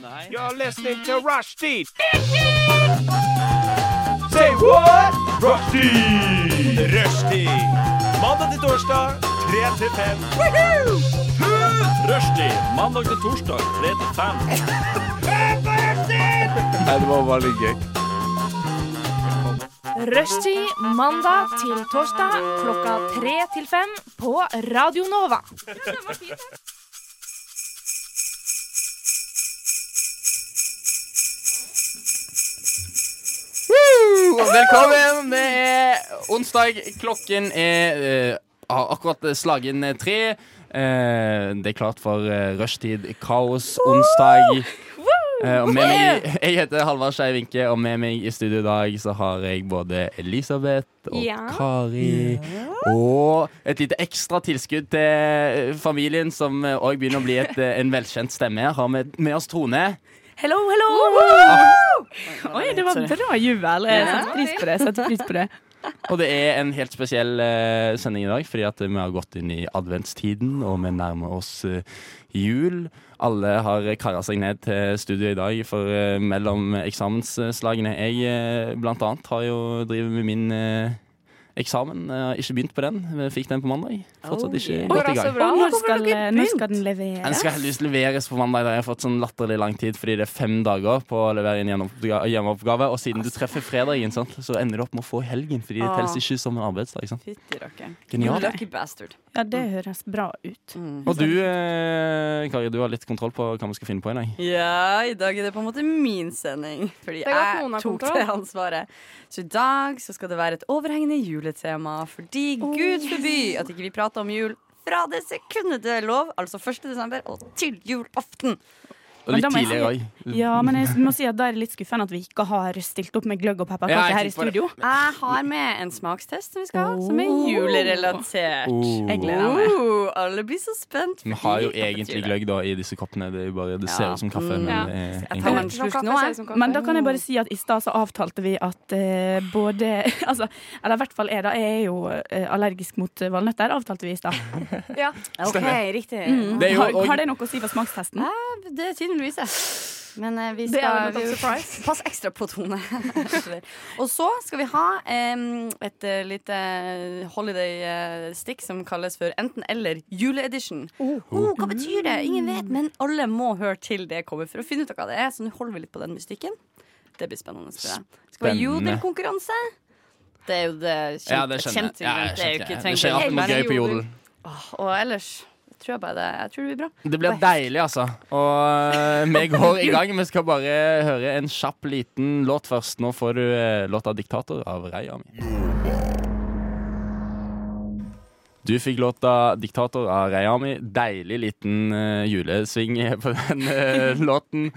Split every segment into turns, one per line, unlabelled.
Nei.
You're listening to Rushdie. Say what? Rushdie. Rushdie. Mandag til torsdag, 3 til 5. Rushdie. Mandag til torsdag, 3 til 5.
Nei, det var bare litt gøy.
Rushtid mandag til torsdag klokka tre til fem på Radio Nova.
Velkommen! Det er onsdag. Klokken er eh, har akkurat slagen tre. Eh, det er klart for eh, rushtid, kaos, onsdag. Eh, og med meg, jeg heter Halvard Skei Winke, og med meg i studio i dag så har jeg både Elisabeth og
Ja.
Kari. Og et lite ekstra tilskudd til familien, som òg begynner å bli et, eh, en velkjent stemme. her. Har med, med oss Trone.
Hello, hello! Oi, det var bra juvel. Jeg setter pris på det. jeg setter pris på det.
Og det er en helt spesiell eh, sending i dag, fordi at vi har gått inn i adventstiden, og vi nærmer oss eh, jul. Alle har kara seg ned til studio i dag, for eh, mellom eksamensslagene Jeg eh, blant annet har jo driver med min eh, eksamen. Jeg har ikke begynt på den. Vi fikk den på mandag. Fortsatt ikke gått i gang.
Og når skal, når skal den
Den
leveres?
skal heldigvis leveres på mandag. Da. Jeg har fått sånn latterlig lang tid fordi det er fem dager på å levere inn gjennomoppga- hjemmeoppgave. Og siden du treffer fredagen, sant, så ender du opp med å få helgen, fordi det
Ah.
telles ikke som en arbeidsdag. Sant?
Fytti rakkeren. Mm,
Genial.
Lucky bastard. Mm.
Ja, det høres bra ut.
Og du, eh, Kari, du har litt kontroll på hva vi skal finne på i dag.
Ja, i dag er det på en måte min sending, fordi
er godt noen
jeg
har
tok
kontroll.
det ansvaret. Så i dag så skal det være et overhengende juletema, fordi
Oh,
gud forby at ikke vi prater om jul fra det sekundet det er lov, altså 1. desember og til julaften.
Og
Men da
litt
må jeg
tidligere òg.
Ja, men jeg må si at da er det litt skuffende at vi ikke har stilt opp med gløgg og
Ja, jeg
pepperkaker her i
tenkte på det.
studio.
Jeg har med en smakstest som vi skal ha,
Oh.
som er julerelatert.
Jeg gleder meg.
Oh, alle blir så spent.
Vi
fordi
har jo
det er
egentlig
jul.
gløgg da i disse koppene. Det, er jo bare, det ser
Ja.
ut som kaffe,
Mm.
men
Ja.
det er
Jeg tar
egentlig-
meg en slurk nå, jeg.
sånn.
Men da kan jeg bare si at i stad så avtalte vi at eh, både Altså, eller i hvert fall jeg, da. Jeg er jo eh, allergisk mot eh, valnøtter. Avtalte vi i stad.
Ja.
Ok, Mm. riktig.
Det er jo
Har,
og-
har det noe å si for smakstesten?
Det er tydeligvis det. Men eh, vi
Det er
skal
jo litt
vi-
av surprise.
Pass ekstra på Tone. og så skal vi ha em, et eh, lite holiday-stikk som kalles for enten-eller juleedition. Oh. hva betyr
Mm.
det? Ingen vet, men alle må høre til det kommer for å finne ut hva det er. Så nå holder vi litt på den mystikken. Det blir spennende. Tror jeg. Det Skal være
Spennende.
jodelkonkurranse. Det er jo det kjente.
Ja, det skjønner jeg.
kjente,
Ja, jeg
det er
skjønte
jo
det.
ikke
Det
trengt
skjer
å
alltid noe
være
gøy på
jodel.
jodel.
Åh, Og ellers tror jeg bare det, jeg tror det blir bra.
Det blir deilig, altså. Og eh, vi går i gang. Vi skal bare høre en kjapp liten låt først. Nå får du eh, låta 'Diktator' av Reia mi. Du fikk låta 'Diktator' av Reyami. Deilig liten eh, julesving på den eh, låten.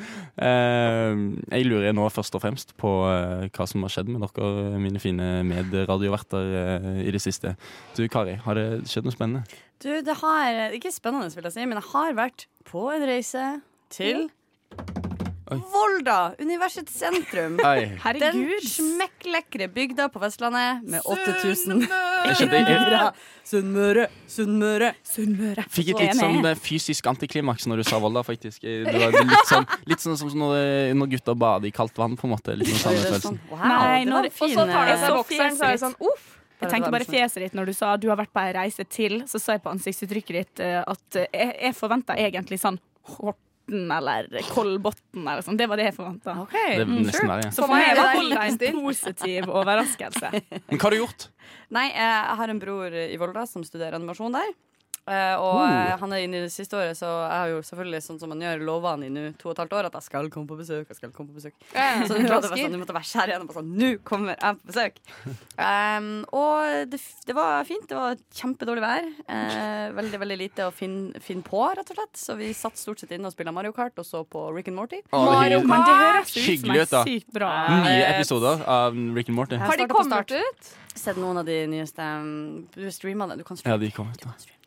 Eh, jeg lurer nå først og fremst på eh, hva som har skjedd med dere, eh, mine fine medradioverter, eh, i det siste. Du, Kari, har det skjedd noe spennende?
Du, det har Ikke spennende, vil jeg si, men jeg har vært på en reise til
Oi.
Volda, universets sentrum.
Oi.
Den
Herregud.
smekklekre bygda på Vestlandet med 8000
Jeg skjønte ikke
Sunnmøre, Sunnmøre.
Sunnmøre.
Fikk et litt
Enig.
sånn eh, fysisk antiklimaks når du sa Volda, faktisk. Eh, Det var litt sånn, litt sånn som når, eh, når gutter bader i kaldt vann, på en måte. Litt sånn
Oi,
samme
det er
følelsen.
sånn. Wow,
Nei,
det
når-
var
og
fin
Og så tar de
Jeg
seg
så
bokseren, så er det
fjeset
sånn uff.
Jeg tenkte bare fjeset ditt når du sa du har vært på ei reise til, så så jeg på ansiktsuttrykket ditt eh, at eh, jeg, jeg forventa egentlig sånn Horten eller Kolbotn eller sånn. Det var det jeg forventa.
OK. mm.
Det er nesten verre. ja.
Så for meg
er det
var
der
Volda en
likestil.
positiv overraskelse.
Men hva har du gjort?
Nei, eh, jeg har en bror i Volda som studerer animasjon der. Eh, og eh, han er inne i det siste året, så jeg har jo selvfølgelig sånn som man gjør lova han i nå to og et halvt år at jeg skal komme på besøk. Jeg skal komme på besøk Så det er klart det var sånn, du måtte være skjær igjen og bare sånn Nå kommer jeg på besøk! Em, og det, f- det var fint. Det var kjempedårlig vær. Eh, veldig veldig lite å finne, finne på, rett og slett. Så vi satt stort sett inne og spilte Mario Kart og så på Rick and Morty.
Å, det er hyggelig.
Men
Ah!
det høres ut som
Hyggelig
ei
ut, da.
sykt bra
Nye episoder av Rick and Morty.
Jeg
Har de
startet på start.
kommet ut?
Sett noen av de nyeste um, Du streama det. Du kan
Ja,
streame.
de kom ut,
Du
da.
kan streame.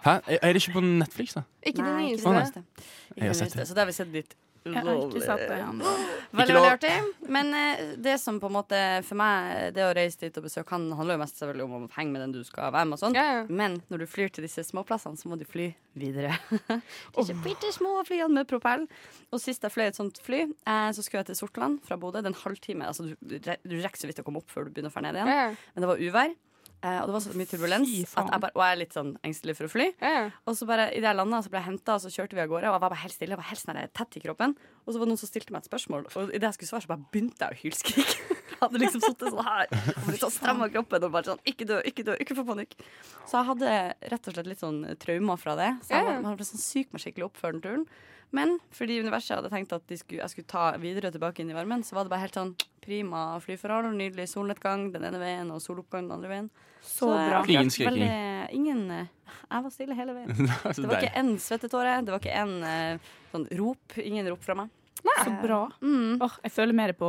Hæ? Er er det ikke på Netflix, da?
Ikke de
Nei,
nyeste.
ikke det nyeste. Ikke
Jeg har
det
sett
nyeste. Så det har vi sett litt
Jeg har ikke sett det
Ah,
ennå.
Veldig,
lov.
veldig artig. Men eh, det som på en måte for meg Det å reise dit og besøke han handler jo mest selvfølgelig om å henge med den du skal være med. og sånn
Ja, ja.
Men når du flyr til disse småplassene, så må du fly videre. Disse bitte små flyene med propell. Og sist jeg fløy et sånt fly, eh, så skulle jeg til Sortland fra Bodø. Det er en halvtime. Altså, du, du re- du rekker så vidt å komme opp før du begynner å ferde ned igjen.
Ja, ja.
Men det var uvær. eh, Og det var så mye turbulens,
Fy faen.
at jeg bare, og jeg er litt sånn engstelig for å fly.
Ja, ja.
Og så bare, i det jeg landet, så ble jeg hentet, og så kjørte vi av gårde. Og jeg var bare helt stille, jeg var helt sånn der tett i kroppen. Og så var det noen som stilte meg et spørsmål, og i det jeg skulle svare, så bare begynte jeg å hylskrike. Jeg hadde liksom sittet sånn her, og blitt sånn stram av kroppen, og bare sånn, ikke dø, ikke dø, ikke få panikk. Så jeg hadde rett og slett litt sånn trauma fra det. Så jeg
Ja,
var,
ja.
man ble sånn syk meg skikkelig opp før den turen. Men fordi universet hadde tenkt at de skulle, jeg skulle ta videre tilbake inn i varmen, så var det bare helt sånn prima flyforhold, nydelig solnedgang den ene veien, og soloppgang den andre veien.
Så bra.
jeg-
Ingen skriking.
veldig- Ingen, eh, jeg var stille hele veien.
Så
Det
deilig.
var ikke en svettetåre, det var ikke en eh, sånn rop. Ingen rop fra meg.
Så bra.
Mm.
Åh, jeg føler mer på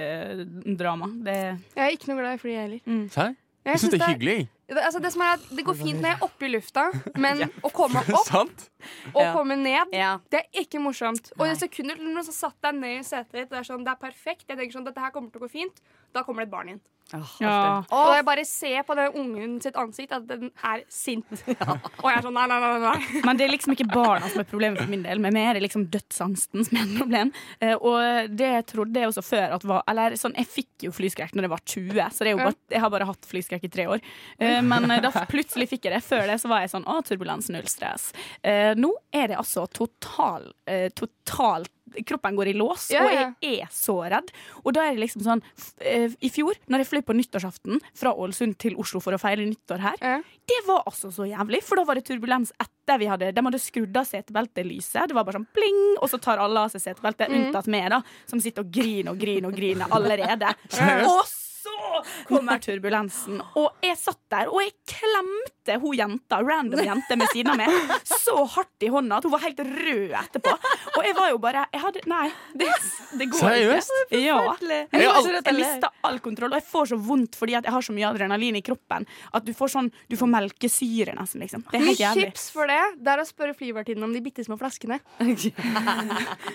flyskrekk-drama. Det
Jeg er ikke noe glad i fly, jeg heller.
Serr?
Jeg
Jeg syns det er hyggelig.
Det, altså det som er at det går fint når jeg er oppe i lufta, men å komme opp
Sant?
og
Ja.
komme ned
Ja.
det er ikke morsomt. Og
Nei.
i sekundet når du satt deg ned i setet ditt, det er sånn, det er perfekt, jeg tenker sånn, dette her kommer til å gå fint, da kommer det et barn inn.
Ja.
Og jeg bare ser på den ungen sitt ansikt at den er sint. Og jeg er sånn nei, nei, nei. nei.
Men det er liksom ikke barna som er problemet for min del, men mer liksom dødsangsten som er et problem. Eh, og det trodde jeg også før at var Eller sånn, jeg fikk jo flyskrekk når jeg var 20, så det er jo
Ja.
bare, jeg har bare hatt flyskrekk i tre år. Eh, men eh, da plutselig fikk jeg det. Før det så var jeg sånn å, turbulens, null stress. Eh, nå er det altså total, eh, totalt Kroppen går i lås,
Ja,
og
ja.
jeg er så redd. Og da er det liksom sånn f eh, I fjor, når jeg fløy på nyttårsaften fra Ålesund til Oslo for å feire nyttår her,
Ja.
det var altså så jævlig, for da var det turbulens etter vi hadde De hadde skrudd av setebeltelyset. Det var bare sånn pling, og så tar alle av seg setebeltet, unntatt meg, da, som sitter og griner og griner og griner allerede. og så kommer turbulensen, og jeg satt der, og jeg klemte hun jenta, random jente med siden av meg, så hardt i hånda at hun var helt rød etterpå. Og jeg var jo bare Jeg hadde Nei, det, det går
Seriøst?
ikke. Ja.
Forferdelig.
Jeg,
Jeg har
jeg, jeg mista all kontroll, og jeg får så vondt fordi at jeg har så mye adrenalin i kroppen at du får sånn Du får melkesyre, nesten. Liksom. Det er
Mitt
helt jævlig.
tips for det det er å spørre flyvertinnen om de bitte små flaskene.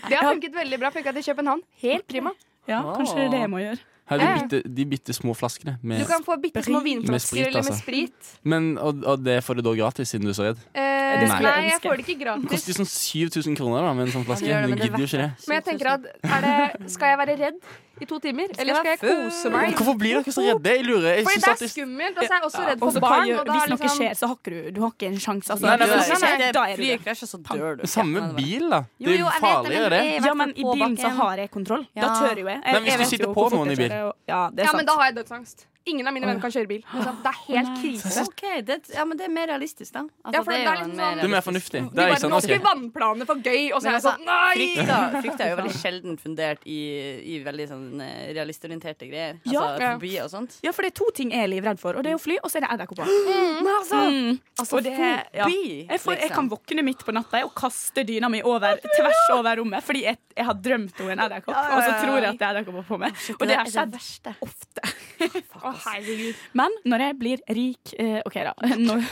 Det har funket veldig bra. Funka til København. Helt prima.
Ja, kanskje det er det jeg må gjøre.
Her er de bitte, de bitte små flaskene.
Du
Med,
kan få bitte små
Med
Sprit.
vinflasker
sprit,
eller med
altså.
sprit.
men, og, og det får du da gratis, siden du er så redd?
Eh,
Det
nei.
skulle jeg
jeg
ønske.
får det ikke
Det
gratis.
koster jo sånn 7000 kroner da, med en sånn flaske.
gjør
Du
det, men det er
gidder jo ikke det.
Men jeg tenker at er det, Skal jeg være redd i to timer, eller skal jeg kose meg?
Hvorfor blir dere så redde? Jeg lurer. Jeg
Fordi
synes
det
at
er
det-
skummelt, og så er jeg også redd
Og så
for
hva
barn.
gjør-
Og da
hvis
er
noe
liksom,
skjer, så har ikke du, du har ikke en sjanse. Altså,
Nei, nei,
Hvis
men- sånn
noe
Nei,
skjer, da er du
Flyet
det.
krasjer, så dør du.
Samme bil, da.
Jo,
Det er
jo,
jo
jeg vet det,
farligere,
men
det.
det er-
Ja, men i
På
bilen så
bakken.
har jeg kontroll. Da
Ja.
tør jo jeg.
Men
jeg,
hvis du
jeg vet
sitter
jo
på
hvor fort
noen
jeg
i bil.
kjører, og- Ja, det er
Ja, men
sant.
da har jeg dødsangst. Ingen av mine venner kan kjøre bil. Liksom. Det er helt krise.
OK, det, ja, men det er mer realistisk, da. Altså,
Ja, for det er
jo
litt
en
sånn-
Det er mer
realistisk-
fornuftig.
De
Det er
bare,
ikke sånn,
nå
ok.
skal vi vannplane for gøy, og så
Men
er jeg
altså,
sånn nei!
Frykta, frykta er jo veldig sjelden fundert i, i veldig sånn eh, realistorienterte greier. Altså
Ja.
Ja.
forbi og sånt.
Ja, for det er to ting jeg er livredd for, og det er jo fly, og så er det edderkopper.
Men altså,
Mm. Og det- ja.
fobi,
jeg, får, jeg
liksom.
kan våkne midt på natta jeg, og kaste dyna mi over, tvers over rommet fordi jeg, jeg har drømt om en edderkopp,
ja, ja,
og så
ja.
tror jeg at det er edderkopper på meg. Og det har skjedd
verste.
ofte.
Å, herregud.
Men når jeg blir rik eh, OK, da. Når,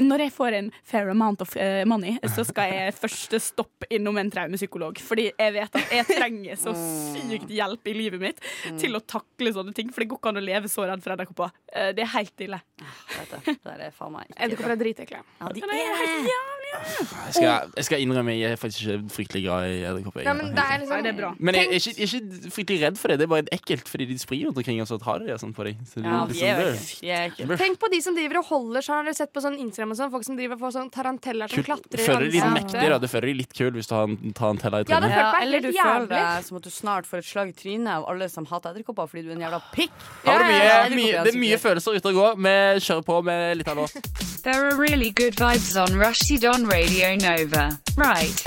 når jeg får en fair amount of eh, money, så skal jeg første stopp innom en traumepsykolog. Fordi jeg vet at jeg trenger så sykt hjelp i livet mitt
Mm.
til å takle sånne ting. For det går ikke an å leve så redd for edderkopper. Eh, Det er helt ille.
Vet du, Det der er faen meg ikke bra.
Edderkopper er dritekle.
Ja, de
Det er helt jævlig.
Jeg skal, jeg skal innrømme, jeg er faktisk ikke fryktelig glad i edderkopper.
Nei, men det er
Nei,
liksom
det er bra.
Men jeg er ikke, jeg er ikke fryktelig redd for det. Det er bare ekkelt, fordi de sprir rundt omkring, og så tar de det sånn på deg. Så det
Ja,
er
vi
liksom
er jo
det.
ikke- vi er ikke
Tenk på de som driver og holder sånn. Har dere sett på sånn Instagram og sånn? Folk som driver og får sånn taranteller som
Kult.
klatrer i
Føler de litt
ansiktet.
mektig, da. Det føler de litt kul hvis du har en, tar en teller i
Ja, det
trynet.
følte
Ja,
meg
eller
helt
du føler
jævlig.
deg som at du snart får et slag i trynet av alle som hater edderkopper fordi du er en jævla pikk.
Her er det, mye,
Ja, ja, ja,
mye, det er mye følelser ute og går. Vi kjører på med litt av låt.
There are really good vibes on Rushdie Don Radio Nova. Right.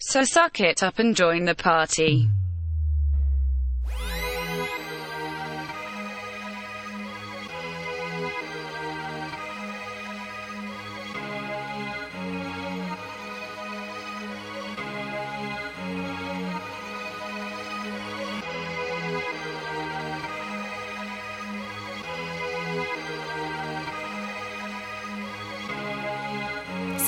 So suck it up and join the party.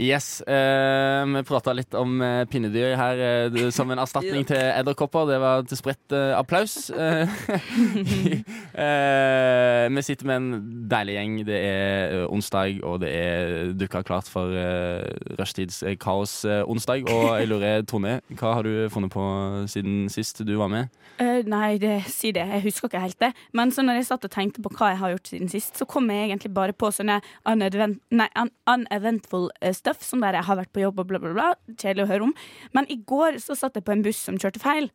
Yes, eh, Vi prata litt om eh, pinnedyr her eh, du- som en erstatning til edderkopper. Det var til spredt eh, applaus. Eh, eh, vi sitter med en deilig gjeng. Det er eh, onsdag, og det er dukka klart for eh, rushtids eh, kaos eh, onsdag. Og jeg lurer, Tone, hva har du funnet på siden sist du var med?
Eh, nei, det, si det. Jeg husker ikke helt det. Men så når jeg satt og tenkte på hva jeg har gjort siden sist, så kom jeg egentlig bare på sånne unevent, nei, un uneventful eh, stuff, som der jeg har vært på jobb og bla, bla, bla. Kjedelig å høre om. Men i går så satt jeg på en buss som kjørte feil.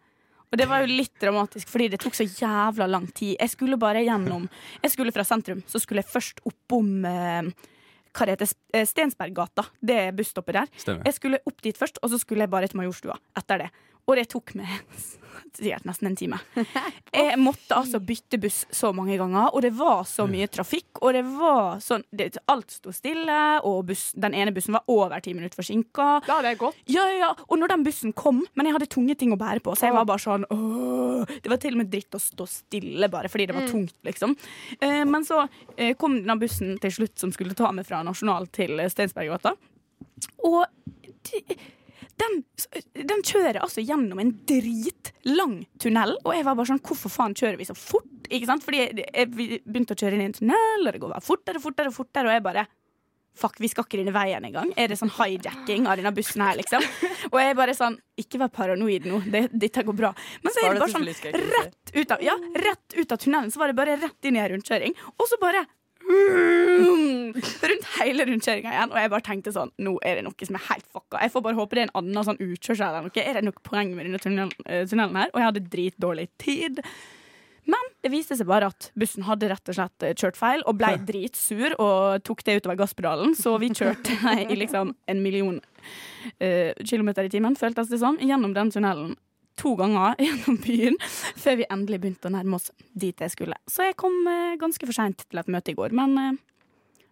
Og det var jo litt dramatisk, fordi det tok så jævla lang tid. Jeg skulle bare gjennom Jeg skulle fra sentrum, så skulle jeg først oppom eh, hva det heter, S- eh, Stensberggata. Det er busstoppet der.
Stemmer.
Jeg skulle opp dit først, og så skulle jeg bare til Majorstua etter det. Og det tok meg sikkert nesten en time. Jeg måtte altså bytte buss så mange ganger, og det var så mye trafikk. Og det var sånn det, Alt sto stille, og buss, den ene bussen var over ti minutter forsinka.
Da hadde jeg gått.
Ja, ja, ja. Og når den bussen kom Men jeg hadde tunge ting å bære på, så jeg var bare sånn åh. Det var til og med dritt å stå stille bare fordi det var tungt, liksom. Eh, men så eh, kom den bussen til slutt som skulle ta meg fra Nasjonal til eh, Steinsberggata. Og de, den, den kjører altså gjennom en dritlang tunnel, og jeg var bare sånn Hvorfor faen kjører vi så fort? Ikke sant? Fordi jeg, jeg begynte å kjøre inn i en tunnel, og det går bare fortere, fortere, fortere, og jeg bare Fuck, vi skal ikke denne veien engang. Er det sånn hijacking av denne bussen her, liksom? Og jeg bare sånn Ikke vær paranoid nå, det, dette går bra. Men så
Spar
er det
det
bare
til
sånn
slutt, skal jeg ikke
rett ut av, ja, rett ut av tunnelen, så var det bare rett inn i en rundkjøring. Og så bare Mm. rundt hele rundkjøringa igjen. Og jeg bare tenkte sånn Nå er det noe som er helt fucka. Jeg får bare håpe det er en annen sånn utkjørsel eller noe. Er det noe poeng med denne tunnelen, eh, tunnelen her? Og jeg hadde dritdårlig tid. Men det viste seg bare at bussen hadde rett og slett eh, kjørt feil og ble dritsur og tok det utover gasspedalen, så vi kjørte i liksom en million eh, kilometer i timen, føltes det som, gjennom den tunnelen to ganger gjennom byen før vi endelig begynte å nærme oss dit jeg skulle. Så jeg kom eh, ganske for seint til et møte i går, men eh,